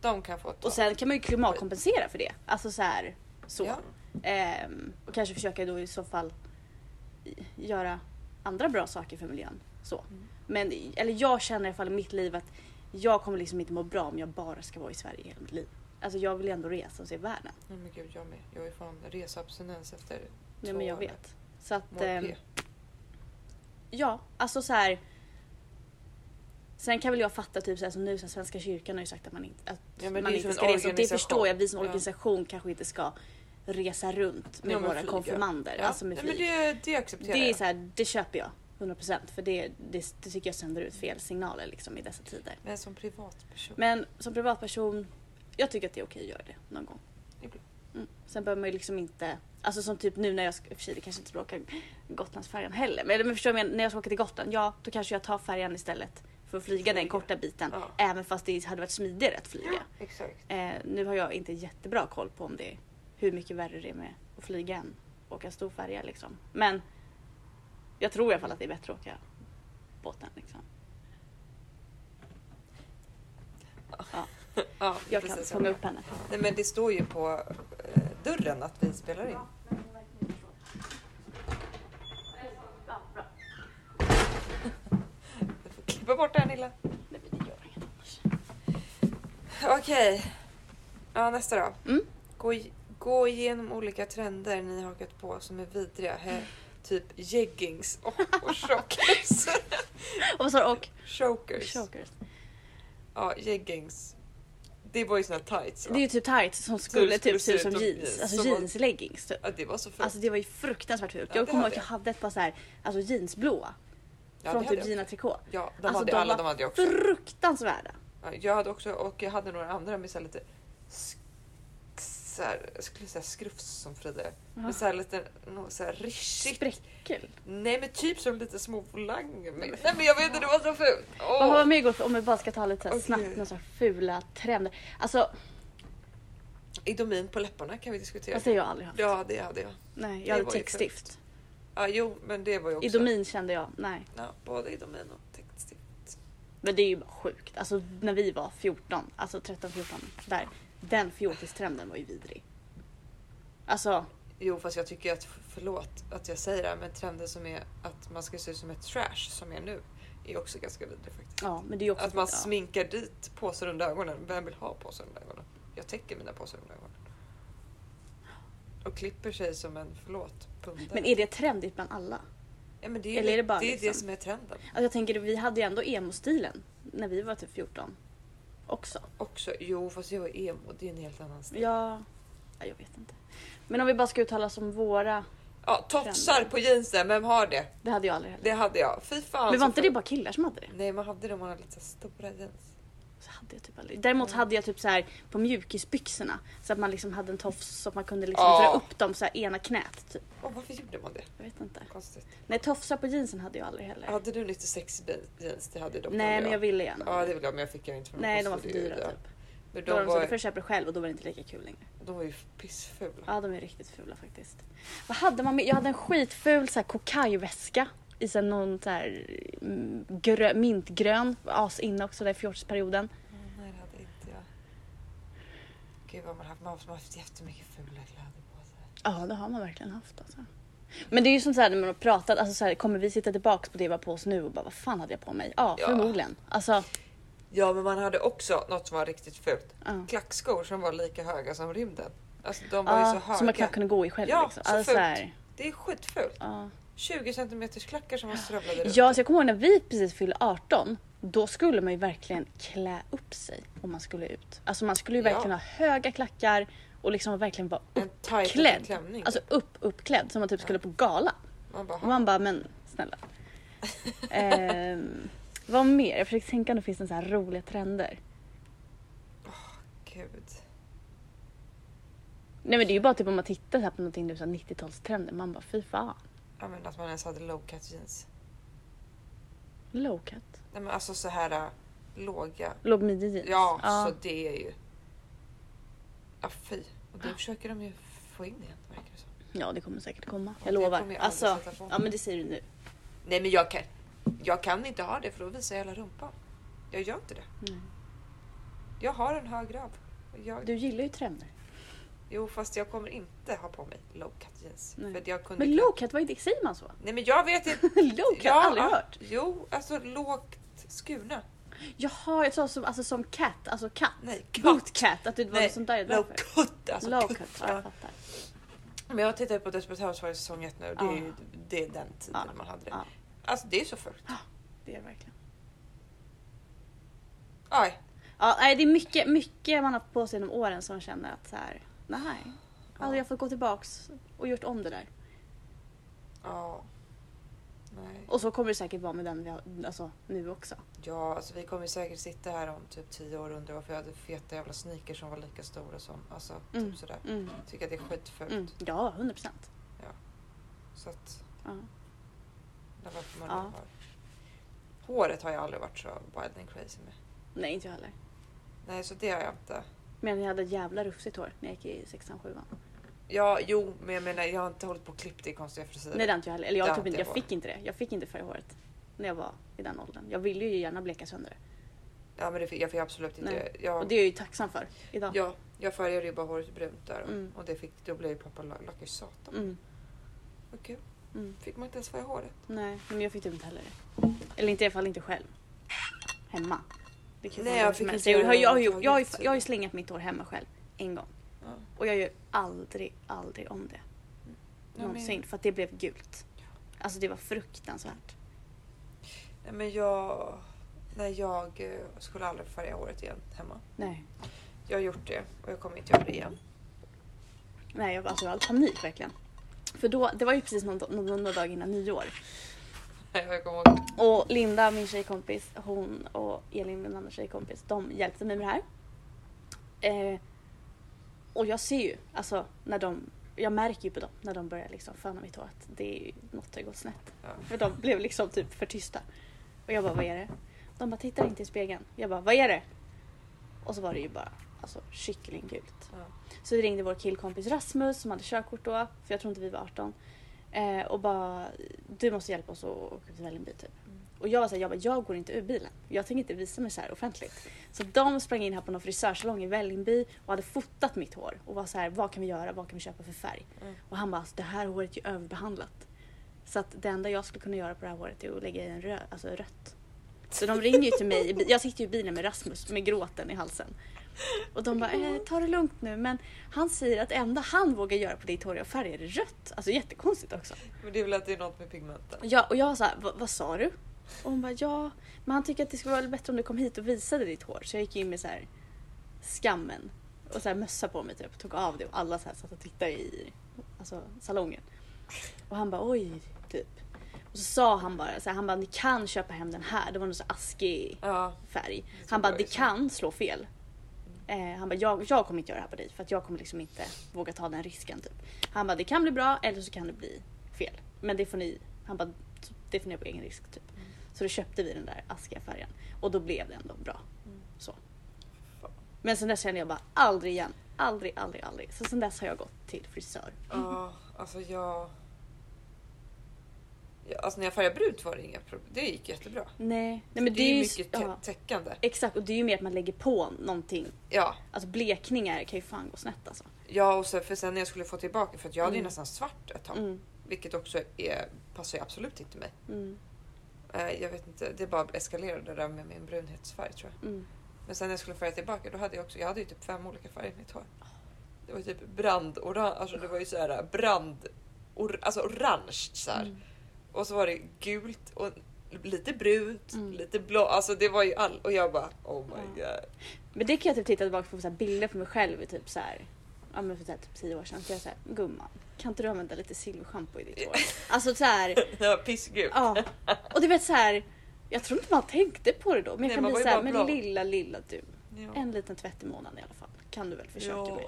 [SPEAKER 2] De kan få ta.
[SPEAKER 1] Och sen kan man ju klimatkompensera för det. Alltså så här, så.
[SPEAKER 2] Ja. Mm.
[SPEAKER 1] Ehm, och kanske försöka då i så fall i- göra andra bra saker för miljön. Så.
[SPEAKER 2] Mm.
[SPEAKER 1] Men, i- eller jag känner i alla fall i mitt liv att jag kommer liksom inte må bra om jag bara ska vara i Sverige hela mitt liv. Alltså jag vill ju ändå resa och se världen.
[SPEAKER 2] Nej, men gud, jag med. Jag är fan resabstinens efter
[SPEAKER 1] Nej
[SPEAKER 2] två
[SPEAKER 1] men jag
[SPEAKER 2] år
[SPEAKER 1] vet. Så att...
[SPEAKER 2] mål
[SPEAKER 1] ehm,
[SPEAKER 2] P.
[SPEAKER 1] Ja, alltså så här. Sen kan väl jag fatta typ så här, som nu, så här, Svenska kyrkan har ju sagt att man inte, att
[SPEAKER 2] Ja, men det är
[SPEAKER 1] man
[SPEAKER 2] ju
[SPEAKER 1] inte
[SPEAKER 2] som
[SPEAKER 1] ska
[SPEAKER 2] en
[SPEAKER 1] resa. Och det
[SPEAKER 2] organisation.
[SPEAKER 1] förstår jag, vi som
[SPEAKER 2] Ja.
[SPEAKER 1] organisation kanske inte ska resa runt med
[SPEAKER 2] Ja, men
[SPEAKER 1] våra
[SPEAKER 2] flyga.
[SPEAKER 1] konfirmander.
[SPEAKER 2] Ja.
[SPEAKER 1] Alltså med
[SPEAKER 2] Nej, men
[SPEAKER 1] flyg.
[SPEAKER 2] det, det
[SPEAKER 1] det,
[SPEAKER 2] accepterar
[SPEAKER 1] är
[SPEAKER 2] jag.
[SPEAKER 1] så här, det köper jag. 100% för det, det, det tycker jag sänder ut fel signaler liksom i dessa tider.
[SPEAKER 2] Men som privatperson.
[SPEAKER 1] Men som privatperson, jag tycker att det är okej att göra det någon gång.
[SPEAKER 2] Ibland.
[SPEAKER 1] Mm. Sen behöver man ju liksom inte, alltså som typ nu när jag ska, i och för sig det kanske inte skulle åka Gotlandsfärjan heller, men, men förstår du vad jag menar? när jag ska åka till Gotland, ja då kanske jag tar färjan istället för att flyga den
[SPEAKER 2] Flyga.
[SPEAKER 1] korta biten.
[SPEAKER 2] Ja.
[SPEAKER 1] Även fast det hade varit smidigare att flyga.
[SPEAKER 2] Exakt.
[SPEAKER 1] Eh, nu har jag inte jättebra koll på om det är, hur mycket värre det är med att flyga än att åka stor färja liksom. Men jag tror i alla fall att det är bättre att åka båten liksom.
[SPEAKER 2] Ja,
[SPEAKER 1] Jag kan
[SPEAKER 2] precis.
[SPEAKER 1] fånga upp henne.
[SPEAKER 2] Nej, men det står ju på eh, dörren att vi spelar in. Du får klippa bort det här Nilla.
[SPEAKER 1] Nej, men det gör inget annars.
[SPEAKER 2] Okej. Ja, nästa då.
[SPEAKER 1] Mm.
[SPEAKER 2] Gå, i- gå igenom olika trender ni har hakat på som är vidriga. He, typ jeggings och, och chokers.
[SPEAKER 1] Och vad sa du? Och?
[SPEAKER 2] chokers.
[SPEAKER 1] Chokers.
[SPEAKER 2] Ja, jeggings. Det var ju såna tights va?
[SPEAKER 1] Det är ju typ tights som skulle
[SPEAKER 2] skulle
[SPEAKER 1] typ se ut som
[SPEAKER 2] jeans.
[SPEAKER 1] jeans. Alltså
[SPEAKER 2] Som var-
[SPEAKER 1] jeansleggings typ.
[SPEAKER 2] Ja, det var så fult.
[SPEAKER 1] Alltså det var ju fruktansvärt fult.
[SPEAKER 2] Ja,
[SPEAKER 1] Jag
[SPEAKER 2] det
[SPEAKER 1] kommer ihåg
[SPEAKER 2] hade
[SPEAKER 1] att jag
[SPEAKER 2] jag.
[SPEAKER 1] hade ett par så här, alltså jeansblåa.
[SPEAKER 2] ja,
[SPEAKER 1] från
[SPEAKER 2] det
[SPEAKER 1] typ
[SPEAKER 2] hade jag.
[SPEAKER 1] Gina Tricot.
[SPEAKER 2] Ja, de
[SPEAKER 1] Alltså,
[SPEAKER 2] hade
[SPEAKER 1] de
[SPEAKER 2] alla
[SPEAKER 1] var
[SPEAKER 2] de hade jag också.
[SPEAKER 1] Fruktansvärda.
[SPEAKER 2] Ja, Jag hade också och jag hade några andra med så här lite sk- så här, jag skulle säga skrufs som Frida är.
[SPEAKER 1] Ja.
[SPEAKER 2] Med så här lite no, så här rishigt.
[SPEAKER 1] Spräckel.
[SPEAKER 2] Nej men typ som lite små volanger. med. Nej men jag vet inte, det var så fult. Åh.
[SPEAKER 1] Vad har vi med igår för- om vi bara ska ta lite så här
[SPEAKER 2] Okej.
[SPEAKER 1] snabbt några så här fula trender. Alltså,
[SPEAKER 2] Idomin på läpparna kan vi diskutera.
[SPEAKER 1] fast det har jag aldrig haft.
[SPEAKER 2] Ja det hade jag.
[SPEAKER 1] Nej,
[SPEAKER 2] det
[SPEAKER 1] jag hade
[SPEAKER 2] var ju
[SPEAKER 1] textstift.
[SPEAKER 2] Ja, jo men det var ju också.
[SPEAKER 1] Idomin kände jag, nej.
[SPEAKER 2] Ja, både idomin och textil.
[SPEAKER 1] Men det är ju bara sjukt. Alltså när vi var 14, alltså 13-14 där. Den fjortistrenden var ju vidrig. Alltså,
[SPEAKER 2] Jo fast jag tycker att, förlåt att jag säger det här men trenden som är att man ska se ut som ett trash som är nu är också ganska vidrig faktiskt.
[SPEAKER 1] ja men det är ju också...
[SPEAKER 2] Att man
[SPEAKER 1] ja.
[SPEAKER 2] sminkar dit påsar under ögonen. Vem vill ha påsar under ögonen? Jag täcker mina påsar under ögonen. Och klipper sig som en, förlåt, pundare.
[SPEAKER 1] Men är det trendigt bland alla?
[SPEAKER 2] ja, men det är, ju
[SPEAKER 1] eller är
[SPEAKER 2] det,
[SPEAKER 1] det bara
[SPEAKER 2] det, är det
[SPEAKER 1] liksom-
[SPEAKER 2] som är trenden.
[SPEAKER 1] Alltså jag tänker, vi hade ju ändå emo-stilen när vi var typ 14. Också.
[SPEAKER 2] Också, jo fast jag är emo, det är en helt annan stil. Ja,
[SPEAKER 1] Ja, nej, jag vet inte. Men om vi bara ska uttala som våra,
[SPEAKER 2] tofsar på jeansen, vem har det?
[SPEAKER 1] det hade jag aldrig heller.
[SPEAKER 2] Det alltså hade jag. Fy fan.
[SPEAKER 1] Men
[SPEAKER 2] så
[SPEAKER 1] var inte
[SPEAKER 2] ful.
[SPEAKER 1] det bara killar som hade det?
[SPEAKER 2] Nej man hade det om man hade lite stora jeans.
[SPEAKER 1] Så hade jag typ aldrig. Däremot hade jag typ så här på mjukisbyxorna så att man liksom hade en tofs så att man kunde liksom
[SPEAKER 2] Ja.
[SPEAKER 1] dra upp dem så här ena knät typ.
[SPEAKER 2] Åh, varför gjorde man det?
[SPEAKER 1] Jag vet inte.
[SPEAKER 2] Konstigt.
[SPEAKER 1] Nej tofsar på jeansen hade jag aldrig heller.
[SPEAKER 2] Hade du lite sexy jeans? Det hade dock
[SPEAKER 1] Nej men jag ville gärna.
[SPEAKER 2] Ja det vill jag men jag fick jag inte från
[SPEAKER 1] Nej
[SPEAKER 2] min
[SPEAKER 1] de var för
[SPEAKER 2] syster, det är ju
[SPEAKER 1] dyra
[SPEAKER 2] det.
[SPEAKER 1] typ.
[SPEAKER 2] Men
[SPEAKER 1] Då var
[SPEAKER 2] de
[SPEAKER 1] de så du
[SPEAKER 2] var,
[SPEAKER 1] får köpa det själv och då var det inte lika kul längre.
[SPEAKER 2] de var ju pissfula.
[SPEAKER 1] Ja, de är riktigt fula faktiskt. Vad hade man med? Jag hade en skitful så här, kokajväska i så här, någon så här, mm, grö, mintgrön, as inne också där i fjortisperioden.
[SPEAKER 2] Mm, Nej, det hade inte jag. Gud vad man har haft, man har haft jättemycket fula kläder på sig.
[SPEAKER 1] Ja, det har man verkligen haft alltså. Men det är ju som så här när man har pratat, alltså så här, kommer vi sitta tillbaks på det vi har på oss nu och bara vad fan hade jag på mig? Ja,
[SPEAKER 2] Ja.
[SPEAKER 1] förmodligen. Alltså,
[SPEAKER 2] Ja, men man hade också något som var riktigt fult.
[SPEAKER 1] ja.
[SPEAKER 2] Klackskor som var lika höga som rymden. Alltså de var ju
[SPEAKER 1] Ja,
[SPEAKER 2] så höga.
[SPEAKER 1] som man knappt kunde gå i själv
[SPEAKER 2] Ja,
[SPEAKER 1] liksom.
[SPEAKER 2] så
[SPEAKER 1] Alltså,
[SPEAKER 2] fult.
[SPEAKER 1] här,
[SPEAKER 2] Det är skitfult.
[SPEAKER 1] ja.
[SPEAKER 2] 20 centimeters klackar som man strövlade runt.
[SPEAKER 1] Ja, så jag kommer ihåg när vi precis fyllde 18. Då skulle man ju verkligen klä upp sig om man skulle ut. Alltså man skulle ju
[SPEAKER 2] Ja.
[SPEAKER 1] verkligen ha höga klackar och liksom verkligen vara
[SPEAKER 2] En tajt liten
[SPEAKER 1] uppklädd.
[SPEAKER 2] klänning.
[SPEAKER 1] Alltså upp, uppklädd som man typ skulle på gala.
[SPEAKER 2] man bara,
[SPEAKER 1] Och
[SPEAKER 2] "Ha,
[SPEAKER 1] man bara, men snälla. Ehm, vad mer? Jag försöker tänka om det finns en så här roliga trender.
[SPEAKER 2] gud.
[SPEAKER 1] Nej men det är ju bara typ om man tittar så här på någonting nu, så här 90-talstrender. Man bara, fy fan.
[SPEAKER 2] Ja, men att man ens hade low cut jeans.
[SPEAKER 1] Low cut.
[SPEAKER 2] Nej, men alltså så här äh, låga.
[SPEAKER 1] Låg midjejeans.
[SPEAKER 2] Ja, så det är ju... Ja, fy. Och det försöker de ju få in igen, verkar det som.
[SPEAKER 1] ja, det kommer säkert komma. Jag
[SPEAKER 2] Det
[SPEAKER 1] lovar.
[SPEAKER 2] kommer jag aldrig
[SPEAKER 1] alltså,
[SPEAKER 2] sätta på mig.
[SPEAKER 1] ja men det säger du nu.
[SPEAKER 2] Nej, men jag kan, jag kan inte ha det för då visar jag hela rumpan. Jag gör inte det.
[SPEAKER 1] Nej.
[SPEAKER 2] Jag har en hög röv. Och Jag,
[SPEAKER 1] Du gillar ju trender.
[SPEAKER 2] jo, fast jag kommer inte ha på mig low cut jeans.
[SPEAKER 1] Nej.
[SPEAKER 2] För att jag kunde
[SPEAKER 1] Men low cut, vad är det? Säger man så?
[SPEAKER 2] Nej, men jag vet inte.
[SPEAKER 1] low cut?
[SPEAKER 2] Ja,
[SPEAKER 1] aldrig
[SPEAKER 2] ja.
[SPEAKER 1] hört.
[SPEAKER 2] Jo, alltså lågt skurna.
[SPEAKER 1] Jaha, jag sa som, alltså, som cat, alltså katt.
[SPEAKER 2] Nej,
[SPEAKER 1] Boot cat, att du var
[SPEAKER 2] Nej,
[SPEAKER 1] något sånt där.
[SPEAKER 2] low
[SPEAKER 1] därför.
[SPEAKER 2] cut. Alltså,
[SPEAKER 1] low
[SPEAKER 2] cut,
[SPEAKER 1] cut, ja,
[SPEAKER 2] ja.
[SPEAKER 1] jag fattar.
[SPEAKER 2] Men jag tittar på Desperate Housewives säsong 1 nu. Det är,
[SPEAKER 1] Ah.
[SPEAKER 2] ju, det är den tiden
[SPEAKER 1] Ah.
[SPEAKER 2] man hade det.
[SPEAKER 1] Ah.
[SPEAKER 2] Alltså det är så fult.
[SPEAKER 1] Det är det verkligen.
[SPEAKER 2] Aj.
[SPEAKER 1] Ja, nej, det är mycket, mycket man har haft på sig genom åren som känner att så här, nej. Alltså, jag har fått gå tillbaks och gjort om det där.
[SPEAKER 2] Ja. Nej.
[SPEAKER 1] Och så kommer det säkert vara med den vi har, alltså, nu också.
[SPEAKER 2] Ja, alltså vi kommer säkert sitta här om typ 10 år och undra varför jag hade feta jävla sneakers som var lika stora som... Alltså
[SPEAKER 1] Mm.
[SPEAKER 2] typ sådär.
[SPEAKER 1] Mm,
[SPEAKER 2] Tycker att det är skitfult.
[SPEAKER 1] mm. Ja, 100 procent.
[SPEAKER 2] Så att...
[SPEAKER 1] Ja.
[SPEAKER 2] Det är varför man
[SPEAKER 1] Ja.
[SPEAKER 2] har... Håret har jag aldrig varit så wild and crazy med.
[SPEAKER 1] Nej, inte jag heller.
[SPEAKER 2] Nej, så det har jag inte.
[SPEAKER 1] Men jag hade ett jävla rufsigt hår när jag gick i sexan, sjuan.
[SPEAKER 2] Ja, jo, men jag menar jag har inte hållit på och klippt det i konstiga frisyrer.
[SPEAKER 1] Nej det har inte jag heller. Eller
[SPEAKER 2] Det
[SPEAKER 1] jag,
[SPEAKER 2] har
[SPEAKER 1] typ
[SPEAKER 2] inte
[SPEAKER 1] inte,
[SPEAKER 2] jag
[SPEAKER 1] jag fick inte det. Jag fick inte färg i håret när jag var i den åldern. Jag ville ju gärna bleka sönder det.
[SPEAKER 2] Ja, men det fick, jag fick absolut inte.
[SPEAKER 1] Nej.
[SPEAKER 2] Jag,
[SPEAKER 1] Och det är jag ju tacksam för idag.
[SPEAKER 2] Ja, jag färgade ju bara håret brunt där och,
[SPEAKER 1] Mm.
[SPEAKER 2] och det fick, då blev ju pappa la- lack i satan.
[SPEAKER 1] Mm,
[SPEAKER 2] Vad kul.
[SPEAKER 1] mm.
[SPEAKER 2] Fick man inte ens färga håret?
[SPEAKER 1] Nej, men jag fick typ inte heller det. Eller inte, i alla fall inte själv. Hemma. Det kan
[SPEAKER 2] Nej,
[SPEAKER 1] vara
[SPEAKER 2] jag
[SPEAKER 1] vem
[SPEAKER 2] fick
[SPEAKER 1] som helst.
[SPEAKER 2] inte
[SPEAKER 1] jag, har- jag, har ju-
[SPEAKER 2] överhuvudtaget.
[SPEAKER 1] jag, har ju- jag har ju slängat mitt hår hemma själv en gång.
[SPEAKER 2] Ja.
[SPEAKER 1] Och jag gör aldrig, aldrig om det.
[SPEAKER 2] men-
[SPEAKER 1] Någonsin. För att det blev gult. Alltså det var fruktansvärt.
[SPEAKER 2] Nej, men jag... Nej, jag eh, skulle aldrig färga håret igen hemma.
[SPEAKER 1] Nej.
[SPEAKER 2] Jag har gjort det och jag kommer inte göra det igen.
[SPEAKER 1] Nej, jag, alltså, jag hade panik verkligen. För då, det var ju precis någon, någon, några dagar innan nyår.
[SPEAKER 2] Nej, jag kommer ihåg.
[SPEAKER 1] Och Linda, min tjejkompis, hon och Elin, min andra tjejkompis, de hjälpte mig med det här. Eh, och jag ser ju, alltså när de, jag märker ju på dem när de börjar liksom föna mitt hår att det är ju, något har gått snett.
[SPEAKER 2] Ja.
[SPEAKER 1] För de blev liksom typ för tysta. Och jag bara, vad är det? De bara, tittar inte i spegeln. Jag bara, vad är det? Och så var det ju bara alltså, kycklinggult.
[SPEAKER 2] Ja.
[SPEAKER 1] Så vi ringde vår killkompis Rasmus som hade körkort då, för jag tror inte vi var 18. Eh, och bara, du måste hjälpa oss att åka till Vällingby typ.
[SPEAKER 2] Mm.
[SPEAKER 1] Och jag var såhär, jag, bara, jag går inte ur bilen. Jag tänker inte visa mig så här offentligt. Så de sprang in här på någon frisörsalong i Vällingby och hade fotat mitt hår och var så här, vad kan vi göra, vad kan vi köpa för färg?
[SPEAKER 2] Mm.
[SPEAKER 1] Och han bara, alltså, det här håret är ju överbehandlat. Så att det enda jag skulle kunna göra på det här håret är att lägga i en rö- alltså rött. Så de ringer ju till mig, i bi- jag sitter ju i bilen med Rasmus med gråten i halsen. Och de bara, eh, ta det lugnt nu men han säger att enda han vågar göra på ditt hår är att färga det rött. Alltså jättekonstigt också.
[SPEAKER 2] Men det är väl att det är något med pigmenten.
[SPEAKER 1] Ja, och jag var såhär, "Va- vad sa du? Och hon bara, ja, men han tycker att det skulle vara bättre om du kom hit och visade ditt hår. Så jag gick in med så här skammen och så här mössa på mig typ, tog av det och alla så här satt och tittade i alltså, salongen. Och han bara, oj, typ. Och så sa han bara, så här, han bara, ni kan köpa hem den här. Det var någon så här askig
[SPEAKER 2] Ja,
[SPEAKER 1] färg.
[SPEAKER 2] Det
[SPEAKER 1] Han bara,
[SPEAKER 2] var
[SPEAKER 1] det
[SPEAKER 2] ju så.
[SPEAKER 1] kan slå fel. Eh, han bara, jag, jag kommer inte göra det här på dig för att jag kommer liksom inte våga ta den risken. Typ. Han bara, det kan bli bra eller så kan det bli fel. Men det får ni, han bara, det får ni på egen risk. Typ. Så då köpte vi den där askiga färgen och då blev det ändå bra. Så.
[SPEAKER 2] Fan.
[SPEAKER 1] Men sen dess kände jag bara, aldrig igen. Aldrig, aldrig, aldrig. Så sen dess har jag gått till frisör. Mm.
[SPEAKER 2] ja alltså jag... Ja, alltså när jag färgade brunt var det inga problem. Det gick jättebra.
[SPEAKER 1] Nej, nej men
[SPEAKER 2] det är ju
[SPEAKER 1] s-
[SPEAKER 2] mycket tä-
[SPEAKER 1] ja,
[SPEAKER 2] täckande.
[SPEAKER 1] Exakt, och det är ju mer att man lägger på någonting.
[SPEAKER 2] Ja,
[SPEAKER 1] Alltså blekningar kan ju fan gå snett alltså.
[SPEAKER 2] ja och så, för sen när jag skulle få tillbaka för att jag hade ju
[SPEAKER 1] Mm.
[SPEAKER 2] nästan svart ett tag.
[SPEAKER 1] Mm,
[SPEAKER 2] Vilket också är, passar ju absolut inte mig.
[SPEAKER 1] mm,
[SPEAKER 2] Eh, Jag vet inte, det bara eskalerade det där med min brunhetsfärg tror jag.
[SPEAKER 1] mm.
[SPEAKER 2] Men sen när jag skulle färga tillbaka då hade jag också, jag hade ju typ fem olika färger i mitt hår. Det var ju typ brandorange, alltså det var ju såhär brand, or, alltså orange såhär. Och så var det gult och lite brunt,
[SPEAKER 1] Mm.
[SPEAKER 2] lite blå. Alltså det var ju all... Och jag bara oh my god.
[SPEAKER 1] Men det kan jag typ titta tillbaka på så här bilder på mig själv i typ så här, ja men för så här, typ tio år sedan. Så jag säger gumman, kan inte du använda lite silverschampo i ditt hår? Alltså så här,
[SPEAKER 2] Jag var pissgul.
[SPEAKER 1] ja. Och du vet så här, jag tror inte man tänkte på det då. Men jag
[SPEAKER 2] Nej,
[SPEAKER 1] kan bli
[SPEAKER 2] man var ju
[SPEAKER 1] så här,
[SPEAKER 2] bara
[SPEAKER 1] men
[SPEAKER 2] glad.
[SPEAKER 1] lilla, lilla du.
[SPEAKER 2] Ja.
[SPEAKER 1] En liten tvätt i månaden i alla fall. Kan du väl försöka
[SPEAKER 2] ja.
[SPEAKER 1] med.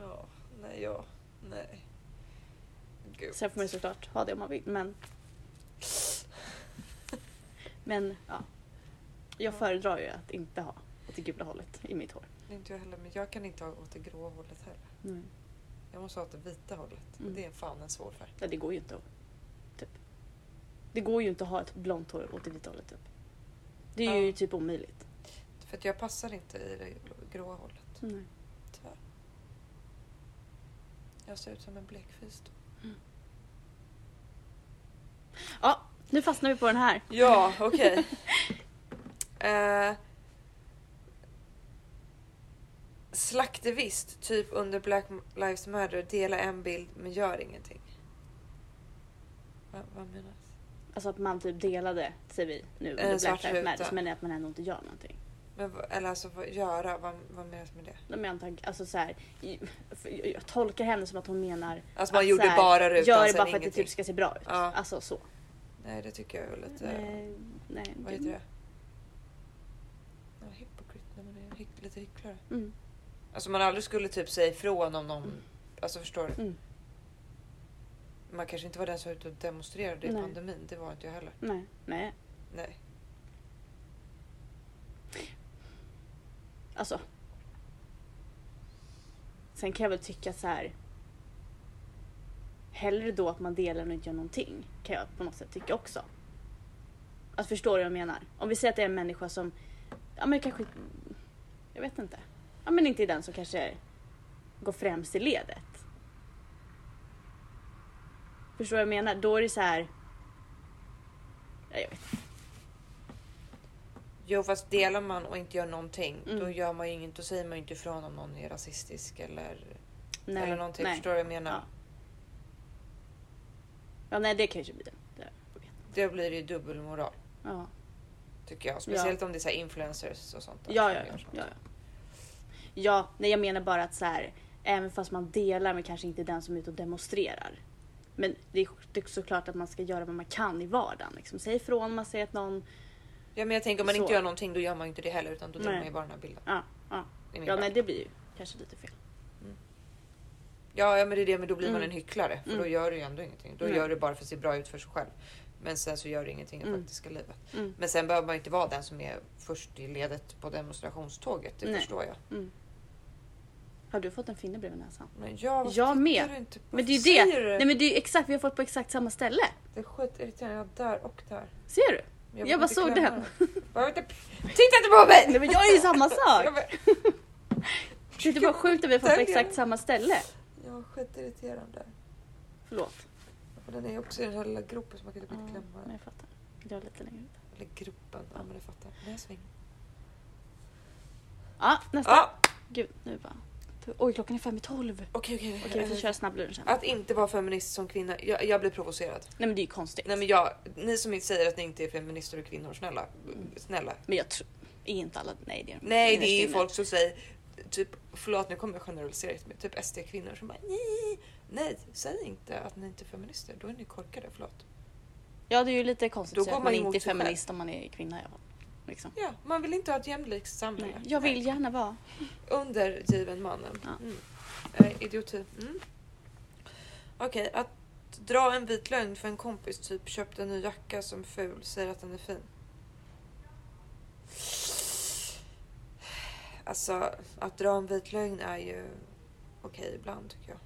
[SPEAKER 2] Ja, nej, ja, nej. Gud.
[SPEAKER 1] Sen får man ju såklart ha det om man vill men... Men ja. Jag föredrar ju att inte ha åt det gula hållet i mitt hår.
[SPEAKER 2] Inte jag heller, men jag kan inte ha åt det gråa hållet heller.
[SPEAKER 1] Mm.
[SPEAKER 2] Jag måste ha åt det vita hållet.
[SPEAKER 1] Mm.
[SPEAKER 2] Det är fan en svår färg.
[SPEAKER 1] Ja, det går ju inte att... Typ. Det går ju inte att ha ett blont hår åt det vita hållet typ. Det är ju
[SPEAKER 2] Ja.
[SPEAKER 1] typ omöjligt.
[SPEAKER 2] För att jag passar inte i det gråa hållet,
[SPEAKER 1] Nej.
[SPEAKER 2] tyvärr. Jag ser ut som en blekfis då.
[SPEAKER 1] Ja, nu fastnar vi på den här.
[SPEAKER 2] Ja, okej. eh, slaktivist, typ under Black Lives Matter, dela en bild men gör ingenting. Va, vad menas?
[SPEAKER 1] Alltså att man typ delade, säger vi nu,
[SPEAKER 2] En
[SPEAKER 1] under
[SPEAKER 2] svart
[SPEAKER 1] Black Lives
[SPEAKER 2] ruta.
[SPEAKER 1] Matter. Men att man ändå inte gör någonting.
[SPEAKER 2] Men, vad- eller alltså vad, göra, vad, vad menas med det?
[SPEAKER 1] Nej, men jag, antar, alltså, så här, för jag, jag tolkar henne som att hon menar
[SPEAKER 2] Alltså man
[SPEAKER 1] att,
[SPEAKER 2] gjorde
[SPEAKER 1] så här,
[SPEAKER 2] bara rutan,
[SPEAKER 1] Gör det
[SPEAKER 2] sen
[SPEAKER 1] bara för att det
[SPEAKER 2] ingenting.
[SPEAKER 1] typ ska se bra ut.
[SPEAKER 2] Ja.
[SPEAKER 1] Alltså så.
[SPEAKER 2] Nej det tycker jag är lite...
[SPEAKER 1] Nej, nej.
[SPEAKER 2] Vad heter det? Ja, hypocrite, när man är hy, lite hycklare.
[SPEAKER 1] Mm,
[SPEAKER 2] Alltså man aldrig skulle typ säga ifrån om någon...
[SPEAKER 1] Mm.
[SPEAKER 2] Alltså förstår du?
[SPEAKER 1] mm,
[SPEAKER 2] Man kanske inte var den som var ute och demonstrerade i
[SPEAKER 1] Nej.
[SPEAKER 2] pandemin, det var inte jag heller.
[SPEAKER 1] nej, nej.
[SPEAKER 2] Nej.
[SPEAKER 1] Alltså. Sen kan jag väl tycka så här. Hellre då att man delar än att inte gör någonting. Kan jag på något sätt tycka också. Att förstå vad jag menar. Om vi säger att det är en människa som, ja men kanske, jag vet inte. Ja men inte är den som kanske går främst i ledet. Förstår vad jag menar? Då är det så här. Ja, jag vet.
[SPEAKER 2] Jo fast delar man och inte gör någonting
[SPEAKER 1] Mm.
[SPEAKER 2] då gör man ju inget, då säger man ju inte ifrån om någon är rasistisk eller,
[SPEAKER 1] Nej,
[SPEAKER 2] eller någonting.
[SPEAKER 1] nej.
[SPEAKER 2] Förstår du vad jag menar?
[SPEAKER 1] Ja. Ja, nej det kanske blir det. det. jag vet.
[SPEAKER 2] Då blir det ju dubbelmoral
[SPEAKER 1] Ja.
[SPEAKER 2] tycker jag. Speciellt om det är så här influencers och sånt. där
[SPEAKER 1] Ja,
[SPEAKER 2] som
[SPEAKER 1] ja,
[SPEAKER 2] gör
[SPEAKER 1] ja,
[SPEAKER 2] sånt.
[SPEAKER 1] ja. Ja, nej jag menar bara att så här, även fast man delar med kanske inte den som är ute och demonstrerar. Men det är, det är såklart att man ska göra vad man kan i vardagen. Liksom. Säg ifrån om man ser att någon...
[SPEAKER 2] Ja men jag tänker om man
[SPEAKER 1] Så.
[SPEAKER 2] inte gör någonting då gör man ju inte det heller utan då delar
[SPEAKER 1] Nej.
[SPEAKER 2] man ju bara den här bilden.
[SPEAKER 1] Ja, ja.
[SPEAKER 2] I min
[SPEAKER 1] ja
[SPEAKER 2] värld.
[SPEAKER 1] nej det blir ju kanske lite fel.
[SPEAKER 2] ja, ja men det är det men då blir man
[SPEAKER 1] Mm.
[SPEAKER 2] en hycklare för då
[SPEAKER 1] Mm.
[SPEAKER 2] gör du ju ändå ingenting. Då
[SPEAKER 1] Nej.
[SPEAKER 2] gör du bara för att se bra ut för sig själv. Men sen så gör du ingenting i
[SPEAKER 1] Mm.
[SPEAKER 2] faktiska livet.
[SPEAKER 1] Mm.
[SPEAKER 2] Men sen behöver man ju inte vara den som är först i ledet på demonstrationståget. Det
[SPEAKER 1] Nej.
[SPEAKER 2] förstår jag.
[SPEAKER 1] Mm. Har du fått en finne bredvid näsan?
[SPEAKER 2] Men jag,
[SPEAKER 1] Jag med.
[SPEAKER 2] Du inte på?
[SPEAKER 1] Men det är ju
[SPEAKER 2] Säger
[SPEAKER 1] det!
[SPEAKER 2] du
[SPEAKER 1] Nej men det är ju exakt, vi har fått på exakt samma ställe.
[SPEAKER 2] Det är skitirriterande. Jag har där och där.
[SPEAKER 1] Ser du?
[SPEAKER 2] Men
[SPEAKER 1] Jag,
[SPEAKER 2] vill
[SPEAKER 1] bara
[SPEAKER 2] inte
[SPEAKER 1] såg
[SPEAKER 2] klämma
[SPEAKER 1] den.
[SPEAKER 2] Bara inte- Titta inte på mig!
[SPEAKER 1] Nej men jag är ju samma
[SPEAKER 2] Jag
[SPEAKER 1] sak!
[SPEAKER 2] bara-
[SPEAKER 1] Det är bara sjukt att vi har fått på
[SPEAKER 2] Stämmer.
[SPEAKER 1] exakt samma ställe.
[SPEAKER 2] Ja, skitirriterande.
[SPEAKER 1] Förlåt.
[SPEAKER 2] Och den är också i den här lilla gropen som man kan typ inte
[SPEAKER 1] Ja,
[SPEAKER 2] klämma.
[SPEAKER 1] men jag fattar. Jag är lite längre ut.
[SPEAKER 2] Eller gropen. Ja, men du fattar. Näsving.
[SPEAKER 1] Ja, nästa.
[SPEAKER 2] Ja,
[SPEAKER 1] Gud, nu bara. Oj, klockan är fem i tolv.
[SPEAKER 2] okej, okej.
[SPEAKER 1] Okej, vi får
[SPEAKER 2] Eh,
[SPEAKER 1] köra snabbluren sen.
[SPEAKER 2] Att inte vara feminist som kvinna. Jag, jag blir provocerad.
[SPEAKER 1] Nej men det är ju konstigt.
[SPEAKER 2] Nej, men jag, ni som inte säger att ni inte är feminister och kvinnor, snälla.
[SPEAKER 1] Mm.
[SPEAKER 2] Snälla.
[SPEAKER 1] Men jag tror... Är inte alla... Nej, det är
[SPEAKER 2] Nej, det är ju
[SPEAKER 1] innerst inne.
[SPEAKER 2] folk som säger typ, förlåt nu kommer jag generalisera lite, men typ SD-kvinnor som bara nej, nej, säg inte att ni inte är feminister, då är ni korkade, förlåt.
[SPEAKER 1] Ja, det är ju lite konstigt
[SPEAKER 2] Då
[SPEAKER 1] att säga
[SPEAKER 2] går
[SPEAKER 1] att
[SPEAKER 2] man
[SPEAKER 1] man
[SPEAKER 2] emot
[SPEAKER 1] inte är
[SPEAKER 2] sig själv.
[SPEAKER 1] feminist om man är kvinna. Ja. Liksom.
[SPEAKER 2] Ja, man vill inte ha ett jämlikt samhälle.
[SPEAKER 1] Nej, jag vill
[SPEAKER 2] Nej.
[SPEAKER 1] gärna vara...
[SPEAKER 2] Undergiven mannen.
[SPEAKER 1] Ja.
[SPEAKER 2] Mm. Eh, idioti. Mm. Okej, att dra en vit lögn för en kompis, typ köpte en ny jacka som är ful, säger att den är fin. Alltså, att dra en vit lögn är ju okej ibland tycker jag.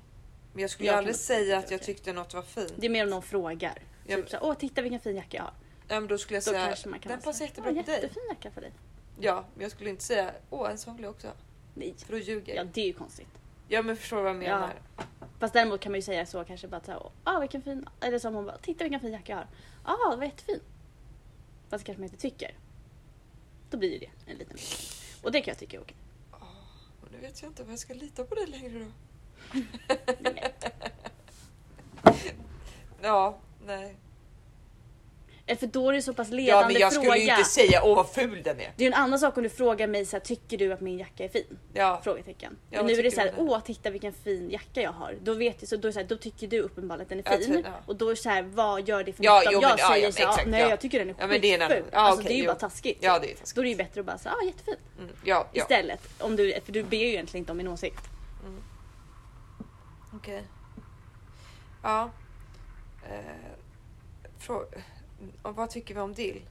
[SPEAKER 2] Men jag skulle
[SPEAKER 1] Jag kan
[SPEAKER 2] aldrig
[SPEAKER 1] också
[SPEAKER 2] säga
[SPEAKER 1] tycka
[SPEAKER 2] att jag
[SPEAKER 1] okej.
[SPEAKER 2] tyckte något var fint.
[SPEAKER 1] Det är mer om någon frågar.
[SPEAKER 2] Ja,
[SPEAKER 1] Typ så här, åh titta vilken fin jacka jag har.
[SPEAKER 2] ja, men då skulle jag
[SPEAKER 1] Då
[SPEAKER 2] säga,
[SPEAKER 1] kanske man kan
[SPEAKER 2] den
[SPEAKER 1] vara
[SPEAKER 2] passar
[SPEAKER 1] så här,
[SPEAKER 2] jättebra
[SPEAKER 1] "Åh,
[SPEAKER 2] på dig.
[SPEAKER 1] Jättefin jacka för dig.
[SPEAKER 2] Ja, men jag skulle inte säga, åh en sån vill jag också ha",
[SPEAKER 1] Nej.
[SPEAKER 2] För då ljuger
[SPEAKER 1] Ja,
[SPEAKER 2] jag.
[SPEAKER 1] det är ju konstigt.
[SPEAKER 2] Ja men förstår du vad jag
[SPEAKER 1] Ja.
[SPEAKER 2] menar?
[SPEAKER 1] Fast däremot kan man ju säga så kanske bara så här, åh vilken fin... Eller som hon bara, titta vilken fin jacka jag har. Ja, det var jättefin. Fast kanske man inte tycker. Då blir ju det en liten... Och det kan jag tycka är okej.
[SPEAKER 2] Och nu vet jag inte vad jag ska lita på dig längre då. ja, nej.
[SPEAKER 1] Eh, För då är det så pass ledande
[SPEAKER 2] Ja men jag skulle
[SPEAKER 1] fråga.
[SPEAKER 2] ju inte säga åh vad ful den är.
[SPEAKER 1] Det är ju en annan sak om du frågar mig så här, tycker du att min jacka är fin?
[SPEAKER 2] Ja,
[SPEAKER 1] Frågetecken. men
[SPEAKER 2] Ja, vad
[SPEAKER 1] nu är det
[SPEAKER 2] tycker
[SPEAKER 1] så här,
[SPEAKER 2] du om
[SPEAKER 1] åh titta vilken fin jacka jag har. Då vet jag, så då, är det så här, då tycker du uppenbarligen att den
[SPEAKER 2] Ja,
[SPEAKER 1] är fin.
[SPEAKER 2] tydligen, ja.
[SPEAKER 1] Och då är det så här, vad gör det för
[SPEAKER 2] Ja,
[SPEAKER 1] nytta om
[SPEAKER 2] jo,
[SPEAKER 1] jag
[SPEAKER 2] men- ja,
[SPEAKER 1] säger
[SPEAKER 2] ja,
[SPEAKER 1] så här, "Ah,
[SPEAKER 2] exakt,
[SPEAKER 1] nej
[SPEAKER 2] ja.
[SPEAKER 1] jag tycker den är
[SPEAKER 2] Ja,
[SPEAKER 1] skitful.
[SPEAKER 2] men det är en annan- ja,
[SPEAKER 1] alltså
[SPEAKER 2] okej,
[SPEAKER 1] det är ju
[SPEAKER 2] jo.
[SPEAKER 1] bara taskigt.
[SPEAKER 2] ja det är taskigt.
[SPEAKER 1] Då är det ju bättre att bara säga, ja jättefin.
[SPEAKER 2] Mm, ja, ja.
[SPEAKER 1] Istället. Om du, för du ber ju egentligen inte om min åsikt.
[SPEAKER 2] Okej. Ja. Eh, frå- och vad tycker vi om dill?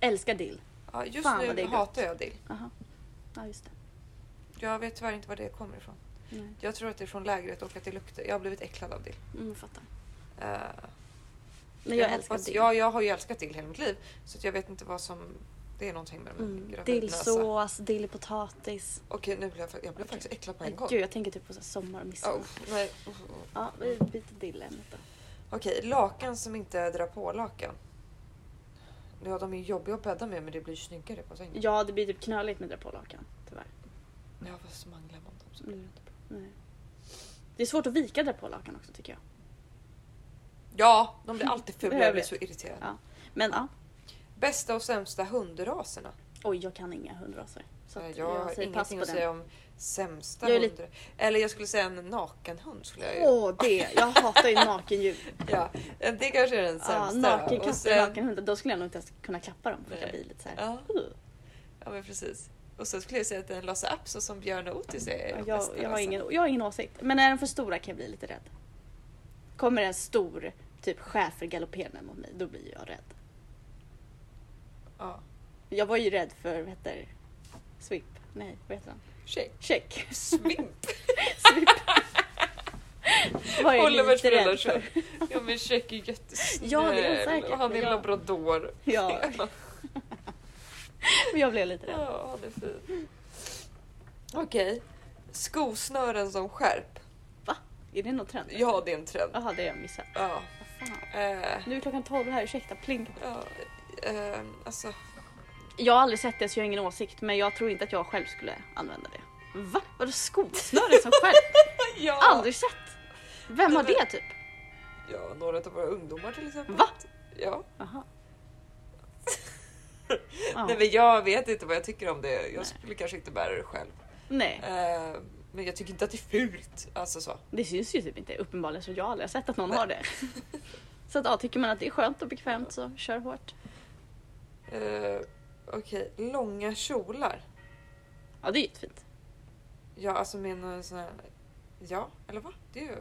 [SPEAKER 1] Älskar dill.
[SPEAKER 2] Ja, just
[SPEAKER 1] Fan, vad det
[SPEAKER 2] nu
[SPEAKER 1] är
[SPEAKER 2] hatar jag dill.
[SPEAKER 1] Jaha. Ja just det.
[SPEAKER 2] Jag vet tyvärr inte var det kommer ifrån.
[SPEAKER 1] Nej.
[SPEAKER 2] Jag tror att det är från lägret och att det luktar. Jag har blivit äcklad av dill.
[SPEAKER 1] Mm, jag fattar.
[SPEAKER 2] Eh,
[SPEAKER 1] Men jag, älskar
[SPEAKER 2] hoppas-
[SPEAKER 1] dill.
[SPEAKER 2] Ja, jag har ju älskat dill hela mitt liv. Så att jag vet inte vad som... Det är någonting med min
[SPEAKER 1] Mm.
[SPEAKER 2] gravidnäsa.
[SPEAKER 1] Dillsås, dillpotatis.
[SPEAKER 2] Okej, nu blev jag, fa- jag blev faktiskt äcklad på en gång.
[SPEAKER 1] Gud jag tänker typ på så här sommar och midsommar.
[SPEAKER 2] Ja, uff, nej. uff, uff.
[SPEAKER 1] Ja, vi byter dill ämnet då.
[SPEAKER 2] Okej, lakan som inte drar på lakan. Ja, de är ju jobbiga att bädda med men det blir snyggare på sängen.
[SPEAKER 1] Ja, det blir typ knöligt med drapålakan. Tyvärr.
[SPEAKER 2] Ja, vad smanglar man dem
[SPEAKER 1] Så
[SPEAKER 2] så?
[SPEAKER 1] blir det, inte bra. Nej. det är svårt att vika drapålakan också tycker jag.
[SPEAKER 2] Ja, de blir alltid fula.
[SPEAKER 1] Behövligt.
[SPEAKER 2] Jag blir så irriterad.
[SPEAKER 1] Ja. Men ja,
[SPEAKER 2] Bästa och sämsta hundraserna. Eh,
[SPEAKER 1] oj jag kan inga hundraser. Så
[SPEAKER 2] jag,
[SPEAKER 1] att
[SPEAKER 2] har
[SPEAKER 1] säger pass
[SPEAKER 2] ingenting
[SPEAKER 1] på
[SPEAKER 2] att
[SPEAKER 1] den.
[SPEAKER 2] säga om sämsta
[SPEAKER 1] Jag är
[SPEAKER 2] hundra.
[SPEAKER 1] lite-
[SPEAKER 2] Eller jag skulle säga en nakenhund. Skulle jag ju.
[SPEAKER 1] Åh det, jag hatar ju nakendjur.
[SPEAKER 2] Ja, eh, det kanske är den
[SPEAKER 1] Ja,
[SPEAKER 2] sämsta. va?
[SPEAKER 1] naken
[SPEAKER 2] och
[SPEAKER 1] katt och naken hund. Då skulle jag nog inte ens kunna klappa dem för att jag
[SPEAKER 2] Nej.
[SPEAKER 1] blir lite såhär.
[SPEAKER 2] ja,
[SPEAKER 1] "Ugh."
[SPEAKER 2] ja, men precis. Och sen skulle jag säga att den Lasse Apso som Björn och Otis är de
[SPEAKER 1] Jag,
[SPEAKER 2] bästa alltså.
[SPEAKER 1] jag, har
[SPEAKER 2] laserna.
[SPEAKER 1] ingen, jag har ingen åsikt. Men är de för stora kan jag bli lite rädd. Kommer en stor typ schäfer galopperande mot mig, då blir jag rädd.
[SPEAKER 2] Ja.
[SPEAKER 1] Jag var ju rädd för, vad heter det? Swip? Nej, vad heter han?
[SPEAKER 2] Tjej.
[SPEAKER 1] Check.
[SPEAKER 2] Svimp.
[SPEAKER 1] Swip. Var jag
[SPEAKER 2] Olivers
[SPEAKER 1] lite
[SPEAKER 2] föräldrar
[SPEAKER 1] rädd för.
[SPEAKER 2] kör. Ja men Check är jättesnäll.
[SPEAKER 1] Ja, det är han säkert,
[SPEAKER 2] Och han är
[SPEAKER 1] men jag-
[SPEAKER 2] labrador.
[SPEAKER 1] Ja, men jag blev lite rädd.
[SPEAKER 2] Ja, han är fin. Okej. Skosnören som skärp.
[SPEAKER 1] Är det någon trend?
[SPEAKER 2] Ja, det är en trend.
[SPEAKER 1] Jaha, det har jag missat.
[SPEAKER 2] Ja.
[SPEAKER 1] Vad fan.
[SPEAKER 2] Eh,
[SPEAKER 1] Nu är klockan 12 här, ursäkta pling.
[SPEAKER 2] ja. Eh, alltså,
[SPEAKER 1] Jag har aldrig sett det så jag har ingen åsikt men jag tror inte att jag själv skulle använda det. Va? Vadå skosnöre som själv?
[SPEAKER 2] ja.
[SPEAKER 1] Aldrig sett! Vem har
[SPEAKER 2] Nej,
[SPEAKER 1] det typ?
[SPEAKER 2] ja, några av våra ungdomar till exempel.
[SPEAKER 1] Va?
[SPEAKER 2] Ja.
[SPEAKER 1] Jaha.
[SPEAKER 2] Nej,
[SPEAKER 1] Ja.
[SPEAKER 2] men jag vet inte vad jag tycker om det. Jag
[SPEAKER 1] Nej.
[SPEAKER 2] skulle kanske inte bära det själv.
[SPEAKER 1] Nej,
[SPEAKER 2] Eh, men jag tycker inte att det är fult. Alltså så.
[SPEAKER 1] det syns ju typ inte. Uppenbarligen så jag har aldrig sett att någon har det. Så att ja, tycker man att det är skönt och bekvämt så kör hårt.
[SPEAKER 2] Eh, Okej, långa kjolar.
[SPEAKER 1] Ja, det är jättefint.
[SPEAKER 2] Ja, alltså med en sån här... Ja, eller va? Det är ju... eh,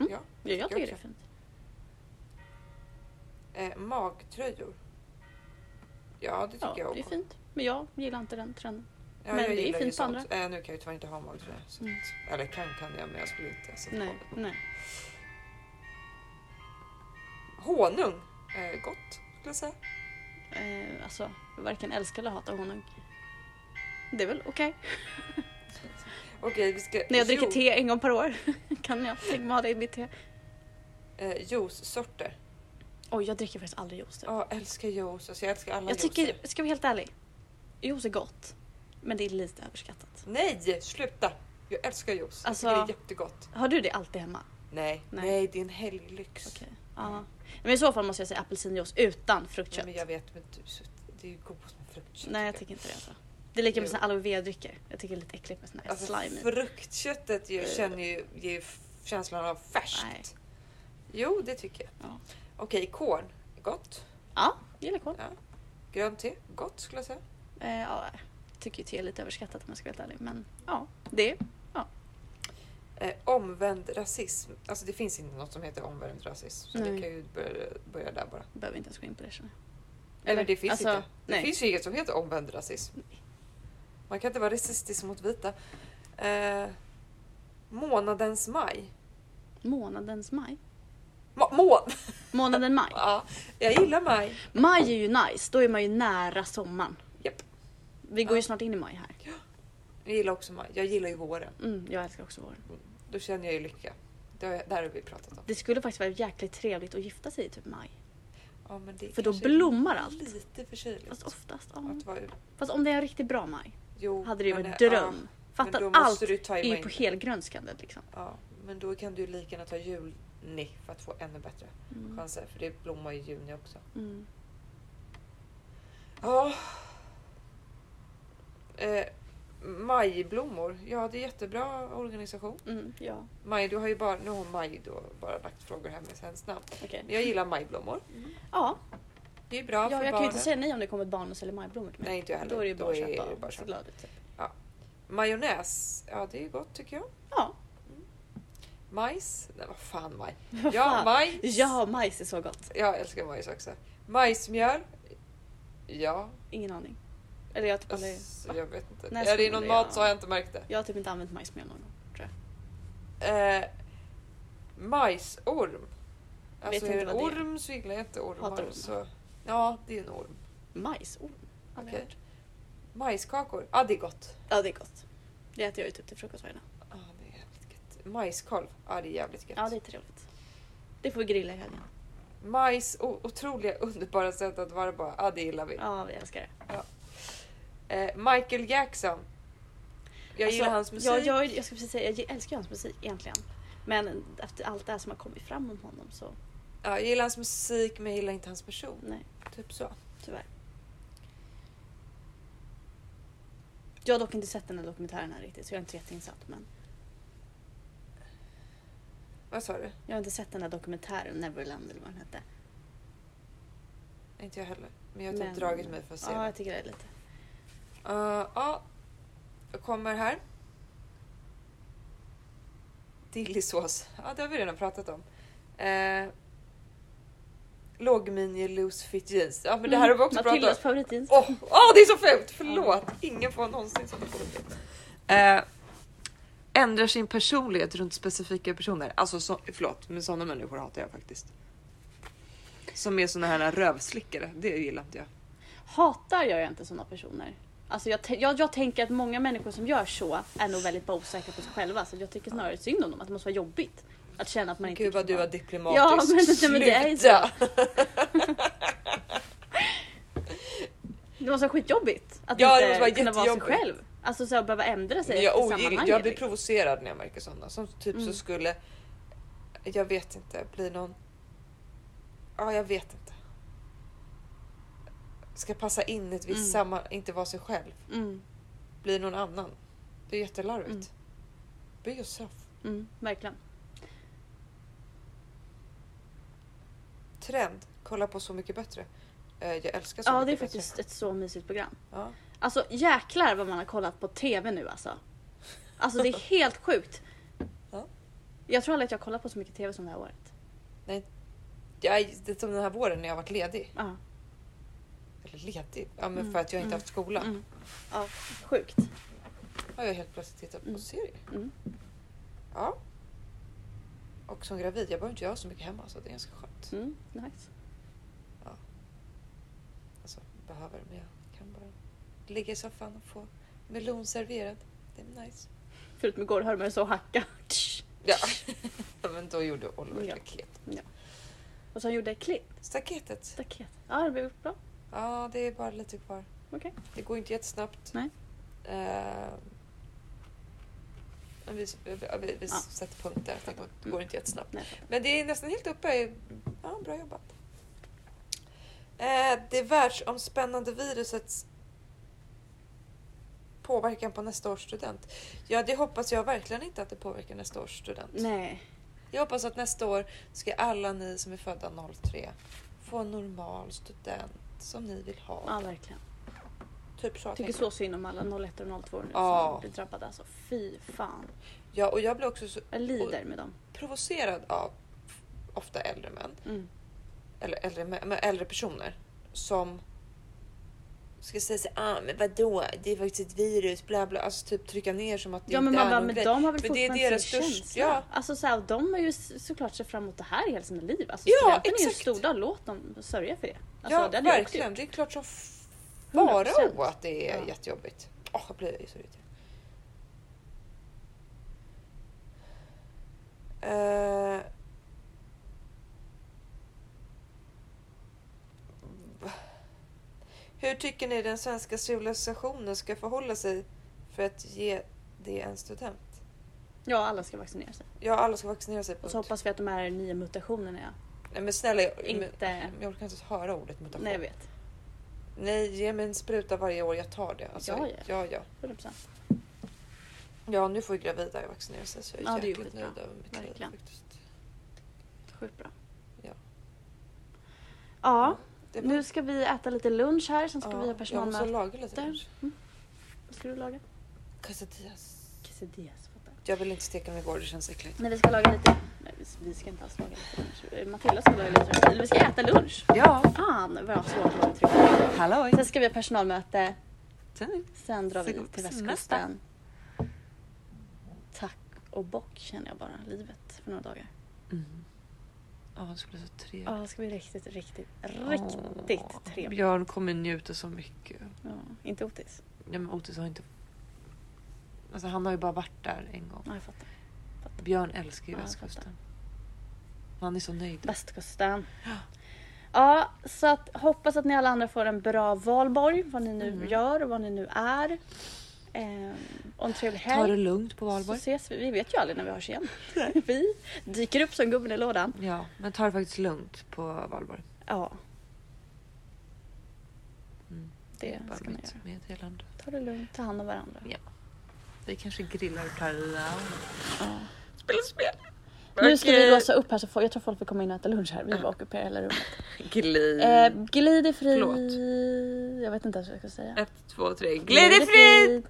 [SPEAKER 1] Mm.
[SPEAKER 2] Ja.
[SPEAKER 1] Ja, jag tycker det är
[SPEAKER 2] också.
[SPEAKER 1] fint.
[SPEAKER 2] Eh, magtröjor. Ja, det tycker
[SPEAKER 1] Ja,
[SPEAKER 2] jag
[SPEAKER 1] det är
[SPEAKER 2] om.
[SPEAKER 1] fint. Men jag gillar inte den trenden.
[SPEAKER 2] Ja,
[SPEAKER 1] Men
[SPEAKER 2] jag
[SPEAKER 1] det är
[SPEAKER 2] gillar ju
[SPEAKER 1] fint på
[SPEAKER 2] sånt. Eh, nu kan jag ju tyvärr inte ha magtröja. Så.
[SPEAKER 1] Mm.
[SPEAKER 2] att- Eller kan kan jag, men jag skulle inte sätta på
[SPEAKER 1] Nej,
[SPEAKER 2] mig.
[SPEAKER 1] nej.
[SPEAKER 2] Honung. Eh, gott, skulle jag säga.
[SPEAKER 1] Eh, alltså, jag varken älskar eller hatar honung. Det är väl okej.
[SPEAKER 2] Okej, vi ska...
[SPEAKER 1] När jag dricker
[SPEAKER 2] jo-
[SPEAKER 1] te en gång per år kan jag tänka mig ha det i mitt te.
[SPEAKER 2] Eh, juicesorter.
[SPEAKER 1] Oj, jag dricker faktiskt aldrig juice. Typ.
[SPEAKER 2] Ja, älskar juice. Alltså, jag älskar alla
[SPEAKER 1] jag tycker,
[SPEAKER 2] juicer.
[SPEAKER 1] ska vi vara helt ärlig, juice är gott. Men det är lite överskattat.
[SPEAKER 2] Nej, sluta! Jag älskar juice.
[SPEAKER 1] Alltså-
[SPEAKER 2] Jag tycker det är jättegott.
[SPEAKER 1] Har du det alltid hemma?
[SPEAKER 2] Nej, nej,
[SPEAKER 1] Nej.
[SPEAKER 2] det är en helglyx.
[SPEAKER 1] Okej. Ja. Men i så fall måste jag säga apelsinjuice utan fruktkött.
[SPEAKER 2] Nej, men jag vet, men du, så- det är ju gott med fruktkött.
[SPEAKER 1] Nej, jag tycker inte det. Alltså. Det är lika med
[SPEAKER 2] Jo.
[SPEAKER 1] såna aloe vera-drycker. Jag tycker det är lite äckligt med såna här
[SPEAKER 2] Alltså,
[SPEAKER 1] slime i.
[SPEAKER 2] fruktköttet ju, känner ju, ger ju f- känslan av färskt.
[SPEAKER 1] Eh. Nej.
[SPEAKER 2] Jo, det tycker jag.
[SPEAKER 1] Ja.
[SPEAKER 2] Okej, korn. Gott.
[SPEAKER 1] Ja, jag gillar kål.
[SPEAKER 2] Grönt te. Gott skulle jag säga.
[SPEAKER 1] Eh, ja, jag tycker ju te är lite överskattat om jag ska vara helt ärlig. Men ja, det.
[SPEAKER 2] Eh, omvänd rasism. Alltså det finns inte något som heter omvänd rasism. Så det
[SPEAKER 1] Nej.
[SPEAKER 2] kan ju börja, börja där bara.
[SPEAKER 1] Behöver inte ens gå in på det känner jag.
[SPEAKER 2] Eller det finns inte. Det
[SPEAKER 1] alltså, Nej.
[SPEAKER 2] finns ju inget som heter omvänd rasism. Man kan inte vara rasistisk mot vita. Eh, månadens maj.
[SPEAKER 1] Månadens maj.
[SPEAKER 2] Ma- må-
[SPEAKER 1] Månaden maj.
[SPEAKER 2] ja, jag gillar maj.
[SPEAKER 1] Maj är ju nice, då är man ju nära sommaren.
[SPEAKER 2] Japp.
[SPEAKER 1] Vi går ju
[SPEAKER 2] Ja.
[SPEAKER 1] snart in i maj här.
[SPEAKER 2] Jag gillar också maj. Jag gillar ju våren.
[SPEAKER 1] Mm, jag älskar också våren.
[SPEAKER 2] Då känner jag ju lycka. Det har, jag- det här har vi pratat om.
[SPEAKER 1] Det skulle faktiskt vara jäkligt trevligt att gifta sig i typ maj.
[SPEAKER 2] Ja, men det är
[SPEAKER 1] För då
[SPEAKER 2] kanske
[SPEAKER 1] blommar allt. Alltså,
[SPEAKER 2] Lite för kyligt.
[SPEAKER 1] Fast oftast, ja.
[SPEAKER 2] Att vara ute.
[SPEAKER 1] Fast om det är en riktigt bra maj
[SPEAKER 2] Jo,
[SPEAKER 1] hade det ju
[SPEAKER 2] men
[SPEAKER 1] varit
[SPEAKER 2] det-
[SPEAKER 1] dröm.
[SPEAKER 2] Ja, men
[SPEAKER 1] Fatta
[SPEAKER 2] då
[SPEAKER 1] att
[SPEAKER 2] måste
[SPEAKER 1] allt
[SPEAKER 2] du ju tajma
[SPEAKER 1] är ju
[SPEAKER 2] in
[SPEAKER 1] på
[SPEAKER 2] det.
[SPEAKER 1] helgrönskandet liksom.
[SPEAKER 2] Ja, men då kan du ju lika gärna ta juni för att få ännu bättre
[SPEAKER 1] Mm.
[SPEAKER 2] chanser. För det blommar ju i juni också.
[SPEAKER 1] Mm.
[SPEAKER 2] Ja. Eh, majblommor. Ja, det är jättebra organisation.
[SPEAKER 1] Mm, ja,
[SPEAKER 2] Maj, du har ju bara, nu har Maj då bara lagt frågor här med hennes namn.
[SPEAKER 1] okej.
[SPEAKER 2] Men Jag gillar majblommor.
[SPEAKER 1] Ja,
[SPEAKER 2] Det är bra
[SPEAKER 1] Mm. ja, jag
[SPEAKER 2] för
[SPEAKER 1] kan
[SPEAKER 2] barnen.
[SPEAKER 1] ju inte säga nej om det kommer barnmus eller majblommor till mig.
[SPEAKER 2] Nej, inte jag heller.
[SPEAKER 1] Då är det ju bara att köpa typ.
[SPEAKER 2] det
[SPEAKER 1] och
[SPEAKER 2] bara att
[SPEAKER 1] se
[SPEAKER 2] köpa.
[SPEAKER 1] glad ut.
[SPEAKER 2] Majonnäs. Ja, det är gott tycker jag.
[SPEAKER 1] Ja.
[SPEAKER 2] Majs. Nej, vad fan maj.
[SPEAKER 1] Vad
[SPEAKER 2] Ja,
[SPEAKER 1] fan.
[SPEAKER 2] majs.
[SPEAKER 1] ja, majs är så gott.
[SPEAKER 2] Jag älskar majs också. Majsmjöl. Ja,
[SPEAKER 1] Ingen aning. Eller jag har typ, aldrig,
[SPEAKER 2] alltså, jag vet inte.
[SPEAKER 1] Nej,
[SPEAKER 2] är det
[SPEAKER 1] så-
[SPEAKER 2] i någon
[SPEAKER 1] ja.
[SPEAKER 2] mat så har jag inte märkt det.
[SPEAKER 1] jag har typ inte använt majsmjöl någon gång.
[SPEAKER 2] Eh, majsorm. Alltså
[SPEAKER 1] inte
[SPEAKER 2] är det en
[SPEAKER 1] vad det är.
[SPEAKER 2] orm så gillar jag inte
[SPEAKER 1] Hatar
[SPEAKER 2] ormar.
[SPEAKER 1] ormar.
[SPEAKER 2] Så, ja, det är en orm.
[SPEAKER 1] Majsorm? Aldrig
[SPEAKER 2] Okej.
[SPEAKER 1] hört.
[SPEAKER 2] Majskakor. Ja, ah, det är gott.
[SPEAKER 1] Ja, det är gott. Det äter jag ju typ till frukost varje dag.
[SPEAKER 2] Ah, det är jävligt gött. Majskolv. Ja, ah, det är jävligt gött.
[SPEAKER 1] Ja, det är trevligt. Det får vi grilla i helgen.
[SPEAKER 2] Majs, o- otroliga underbara sätt att vara på. Ja, ah, det gillar vi.
[SPEAKER 1] Ja, vi älskar det.
[SPEAKER 2] Eh, Michael Jackson. Jag gillar
[SPEAKER 1] Alltså,
[SPEAKER 2] hans musik.
[SPEAKER 1] Jag, jag, jag ska precis säga, jag älskar hans musik egentligen. Men efter allt det här som har kommit fram om honom så
[SPEAKER 2] Ja, jag gillar hans musik men jag gillar inte hans person.
[SPEAKER 1] nej,
[SPEAKER 2] Typ så.
[SPEAKER 1] tyvärr. Jag har dock inte sett den här dokumentären här riktigt så jag är inte jätteinsatt. Men
[SPEAKER 2] Vad sa du?
[SPEAKER 1] jag har inte sett den här dokumentären, Neverland eller vad den hette.
[SPEAKER 2] Inte jag heller. Men jag har typ
[SPEAKER 1] Men-
[SPEAKER 2] dragit mig för att se
[SPEAKER 1] Ja,
[SPEAKER 2] det.
[SPEAKER 1] jag tycker det är lite.
[SPEAKER 2] Eh, Ja, jag kommer här. Dillisås. Ja, det har vi redan pratat om. Uh, Lågmini loose fit jeans. Ja, men det här har vi också
[SPEAKER 1] Mm,
[SPEAKER 2] pratat om.
[SPEAKER 1] Matildas favoritjeans.
[SPEAKER 2] Åh, åh, det är så fult! Förlåt! Ingen får någonsin sådana kommentarer. Eh, ändrar sin personlighet runt specifika personer. Alltså, så, förlåt, men sådana människor hatar jag faktiskt. Som är såna här rövslickare. Det gillar inte jag.
[SPEAKER 1] Hatar gör jag inte sådana personer. Alltså jag, tän- jag, jag tänker att många människor som gör så är nog väldigt bara osäkra på sig själva. Så jag tycker snarare synd om dem, att det måste vara jobbigt. Att känna att man inte
[SPEAKER 2] Gud vad
[SPEAKER 1] kan
[SPEAKER 2] du var
[SPEAKER 1] vara-
[SPEAKER 2] diplomatisk.
[SPEAKER 1] Ja, men- nej, men det är ju så.
[SPEAKER 2] Sluta!
[SPEAKER 1] Det måste vara skitjobbigt. Att
[SPEAKER 2] Ja, det
[SPEAKER 1] inte
[SPEAKER 2] måste vara
[SPEAKER 1] kunna vara sig
[SPEAKER 2] jättejobbigt.
[SPEAKER 1] själv. Alltså så här, behöva ändra sig
[SPEAKER 2] Men jag,
[SPEAKER 1] efter
[SPEAKER 2] ogillar,
[SPEAKER 1] sammanhanget.
[SPEAKER 2] jag blir
[SPEAKER 1] liksom.
[SPEAKER 2] provocerad när jag märker sådana som typ
[SPEAKER 1] Mm.
[SPEAKER 2] så skulle, jag vet inte, bli någon, ja jag vet inte. Ska passa in i ett visst
[SPEAKER 1] Mm.
[SPEAKER 2] sammanhang, inte vara sig själv,
[SPEAKER 1] mm,
[SPEAKER 2] bli någon annan. Det är jättelarvigt.
[SPEAKER 1] Mm.
[SPEAKER 2] Be yourself.
[SPEAKER 1] mm, verkligen.
[SPEAKER 2] Trend, kolla på Så mycket bättre. Eh, Jag älskar Så
[SPEAKER 1] Ja, det är
[SPEAKER 2] mycket bättre.
[SPEAKER 1] faktiskt ett så mysigt program.
[SPEAKER 2] Ja.
[SPEAKER 1] Alltså jäklar vad man har kollat på TV nu alltså. Alltså det är helt sjukt.
[SPEAKER 2] Ja.
[SPEAKER 1] Jag tror aldrig att jag har kollat på så mycket TV som det här året.
[SPEAKER 2] Jag, det är som den här våren när jag har varit ledig.
[SPEAKER 1] Ja.
[SPEAKER 2] Eller ledig? Ja, men
[SPEAKER 1] Mm.
[SPEAKER 2] för att jag inte
[SPEAKER 1] Mm.
[SPEAKER 2] haft skola.
[SPEAKER 1] Mm. Ja, sjukt.
[SPEAKER 2] har jag helt plötsligt tittat på
[SPEAKER 1] Mm.
[SPEAKER 2] serier.
[SPEAKER 1] Mm.
[SPEAKER 2] Ja. Och som gravid, jag behöver inte göra så mycket hemma så det är ganska skönt.
[SPEAKER 1] Mm, nice.
[SPEAKER 2] Alltså, behöver, men jag kan bara ligga i soffan och få melon serverad. Det är nice.
[SPEAKER 1] Förut med igår hörde man det så hacka.
[SPEAKER 2] Ja, men då gjorde Oliver
[SPEAKER 1] Ja.
[SPEAKER 2] staket.
[SPEAKER 1] Och sen gjorde jag klipp.
[SPEAKER 2] Staketet.
[SPEAKER 1] Staket. Ja, det blev bra.
[SPEAKER 2] Ja, det är bara lite kvar.
[SPEAKER 1] Okej.
[SPEAKER 2] Det går inte jättesnabbt.
[SPEAKER 1] Nej.
[SPEAKER 2] Eh, men vi vi, vi, vi
[SPEAKER 1] Ja.
[SPEAKER 2] sätter punkt där. Det går, det går inte jättesnabbt.
[SPEAKER 1] Nej,
[SPEAKER 2] Men det är nästan helt uppe. i- Ja, bra jobbat. Eh, det världsomspännande virusets påverkan på nästa års student. Ja, det hoppas jag verkligen inte att det påverkar nästa års student.
[SPEAKER 1] Nej.
[SPEAKER 2] Jag hoppas att nästa år ska alla ni som är födda 03 få en normal student som ni vill ha.
[SPEAKER 1] Ja, verkligen.
[SPEAKER 2] Typ så.
[SPEAKER 1] Jag tycker
[SPEAKER 2] tänker
[SPEAKER 1] så synd om alla 01 och 02 nu
[SPEAKER 2] Ja.
[SPEAKER 1] som blir drabbade. Alltså, fy fan.
[SPEAKER 2] jag. Ja, och jag blir också så
[SPEAKER 1] Jag lider med dem.
[SPEAKER 2] provocerad av ofta äldre män.
[SPEAKER 1] Mm.
[SPEAKER 2] eller äldre, mä- men äldre personer som ska säga så ah, men vadå, det är faktiskt ett virus, bla bla, alltså typ trycka ner som att det
[SPEAKER 1] Ja men
[SPEAKER 2] inte
[SPEAKER 1] man
[SPEAKER 2] är
[SPEAKER 1] bara,
[SPEAKER 2] någon
[SPEAKER 1] men
[SPEAKER 2] grej.
[SPEAKER 1] de har väl
[SPEAKER 2] Men det är
[SPEAKER 1] fortfarande
[SPEAKER 2] deras
[SPEAKER 1] sin
[SPEAKER 2] störst-
[SPEAKER 1] känsla?
[SPEAKER 2] ja.
[SPEAKER 1] Alltså så här, och de har ju s- såklart sett fram emot det här hela sina liv. Alltså
[SPEAKER 2] Ja,
[SPEAKER 1] studenten är ju
[SPEAKER 2] exakt.
[SPEAKER 1] stora, låt dem sörja för det. Alltså,
[SPEAKER 2] ja,
[SPEAKER 1] det hade jag också
[SPEAKER 2] verkligen.
[SPEAKER 1] gjort.
[SPEAKER 2] Det är klart som
[SPEAKER 1] 100%.
[SPEAKER 2] farao att det är
[SPEAKER 1] Ja.
[SPEAKER 2] jättejobbigt. Åh, jag blir så irriterad. Eh. Hur tycker ni den svenska civilisationen ska förhålla sig för att ge det en student?
[SPEAKER 1] Ja, alla ska vaccinera sig.
[SPEAKER 2] Ja, alla ska vaccinera sig.
[SPEAKER 1] Och så
[SPEAKER 2] Punkt.
[SPEAKER 1] hoppas vi att de här nya mutationerna ja.
[SPEAKER 2] Nej, men snälla, jag, men,
[SPEAKER 1] inte...
[SPEAKER 2] jag orkar inte ens höra ordet mutation.
[SPEAKER 1] Nej jag vet.
[SPEAKER 2] Nej, ge mig en spruta varje år. Jag tar det. Alltså,
[SPEAKER 1] Ja, ja.
[SPEAKER 2] ja, ja.
[SPEAKER 1] 100%.
[SPEAKER 2] Ja, nu får ju gravida vaccinera sig så jag är
[SPEAKER 1] Ja, det är ju
[SPEAKER 2] jäkligt
[SPEAKER 1] skitbra.
[SPEAKER 2] nöjd över mitt liv
[SPEAKER 1] Verkligen.
[SPEAKER 2] faktiskt.
[SPEAKER 1] Sjukt bra.
[SPEAKER 2] Ja.
[SPEAKER 1] Ja,
[SPEAKER 2] Det var-
[SPEAKER 1] nu ska vi äta lite lunch här, sen ska
[SPEAKER 2] Ja,
[SPEAKER 1] vi ha
[SPEAKER 2] Jag måste
[SPEAKER 1] personalmöte.
[SPEAKER 2] laga lite lunch.
[SPEAKER 1] Vad ska du laga?
[SPEAKER 2] Quesadillas.
[SPEAKER 1] Quesadillas, fattar
[SPEAKER 2] Jag vill inte steka dem igår, det känns äckligt.
[SPEAKER 1] Nej, vi ska laga lite... Nej, vi- vi ska inte alls laga lite lunch. Eh, Matilda ska laga lite lunch. Eller vi ska äta lunch.
[SPEAKER 2] Ja,
[SPEAKER 1] Fan vad jag har svårt att uttrycka
[SPEAKER 2] halloj!
[SPEAKER 1] Sen ska vi ha personalmöte, sen drar
[SPEAKER 2] Ska
[SPEAKER 1] vi
[SPEAKER 2] gå på
[SPEAKER 1] till västkusten. Tack och bock känner jag bara, livet för några dagar.
[SPEAKER 2] Mm. Ja, det ska bli så trevligt.
[SPEAKER 1] Ja, det ska bli riktigt, riktigt, riktigt
[SPEAKER 2] Åh,
[SPEAKER 1] trevligt.
[SPEAKER 2] Björn kommer njuta så mycket.
[SPEAKER 1] Ja, inte Otis.
[SPEAKER 2] Ja, men Otis har inte... Alltså, han har ju bara varit där en gång.
[SPEAKER 1] Ja, jag fattar.
[SPEAKER 2] Björn älskar ju
[SPEAKER 1] Ja, jag
[SPEAKER 2] västkusten. Han är så nöjd.
[SPEAKER 1] Västkusten. Ja, så att, hoppas att ni alla andra får en bra valborg, vad ni nu
[SPEAKER 2] Mm.
[SPEAKER 1] gör och vad ni nu är. Ehm, och en trevlig
[SPEAKER 2] Ta det
[SPEAKER 1] helg.
[SPEAKER 2] lugnt
[SPEAKER 1] Så
[SPEAKER 2] på valborg.
[SPEAKER 1] ses vi. Vi vet ju aldrig när vi hörs igen. vi dyker upp som gubben i lådan.
[SPEAKER 2] Ja, men ta det faktiskt lugnt på valborg.
[SPEAKER 1] Ja.
[SPEAKER 2] Mm.
[SPEAKER 1] Det
[SPEAKER 2] är bara
[SPEAKER 1] ska man
[SPEAKER 2] mitt
[SPEAKER 1] göra.
[SPEAKER 2] meddelande.
[SPEAKER 1] Ta det lugnt, ta hand om varandra.
[SPEAKER 2] Ja. Vi kanske grillar och tar
[SPEAKER 1] Ja.
[SPEAKER 2] Spela spel!
[SPEAKER 1] Nu ska vi låsa upp här så får, jag tror folk vill komma in och äta lunch här. Vi bara ockuperar hela rummet.
[SPEAKER 2] Glid.
[SPEAKER 1] Eh, glid i fri...
[SPEAKER 2] Mm. Förlåt.
[SPEAKER 1] Jag vet inte ens vad jag ska säga.
[SPEAKER 2] Ett, två, tre. Glid i frid!
[SPEAKER 1] frid.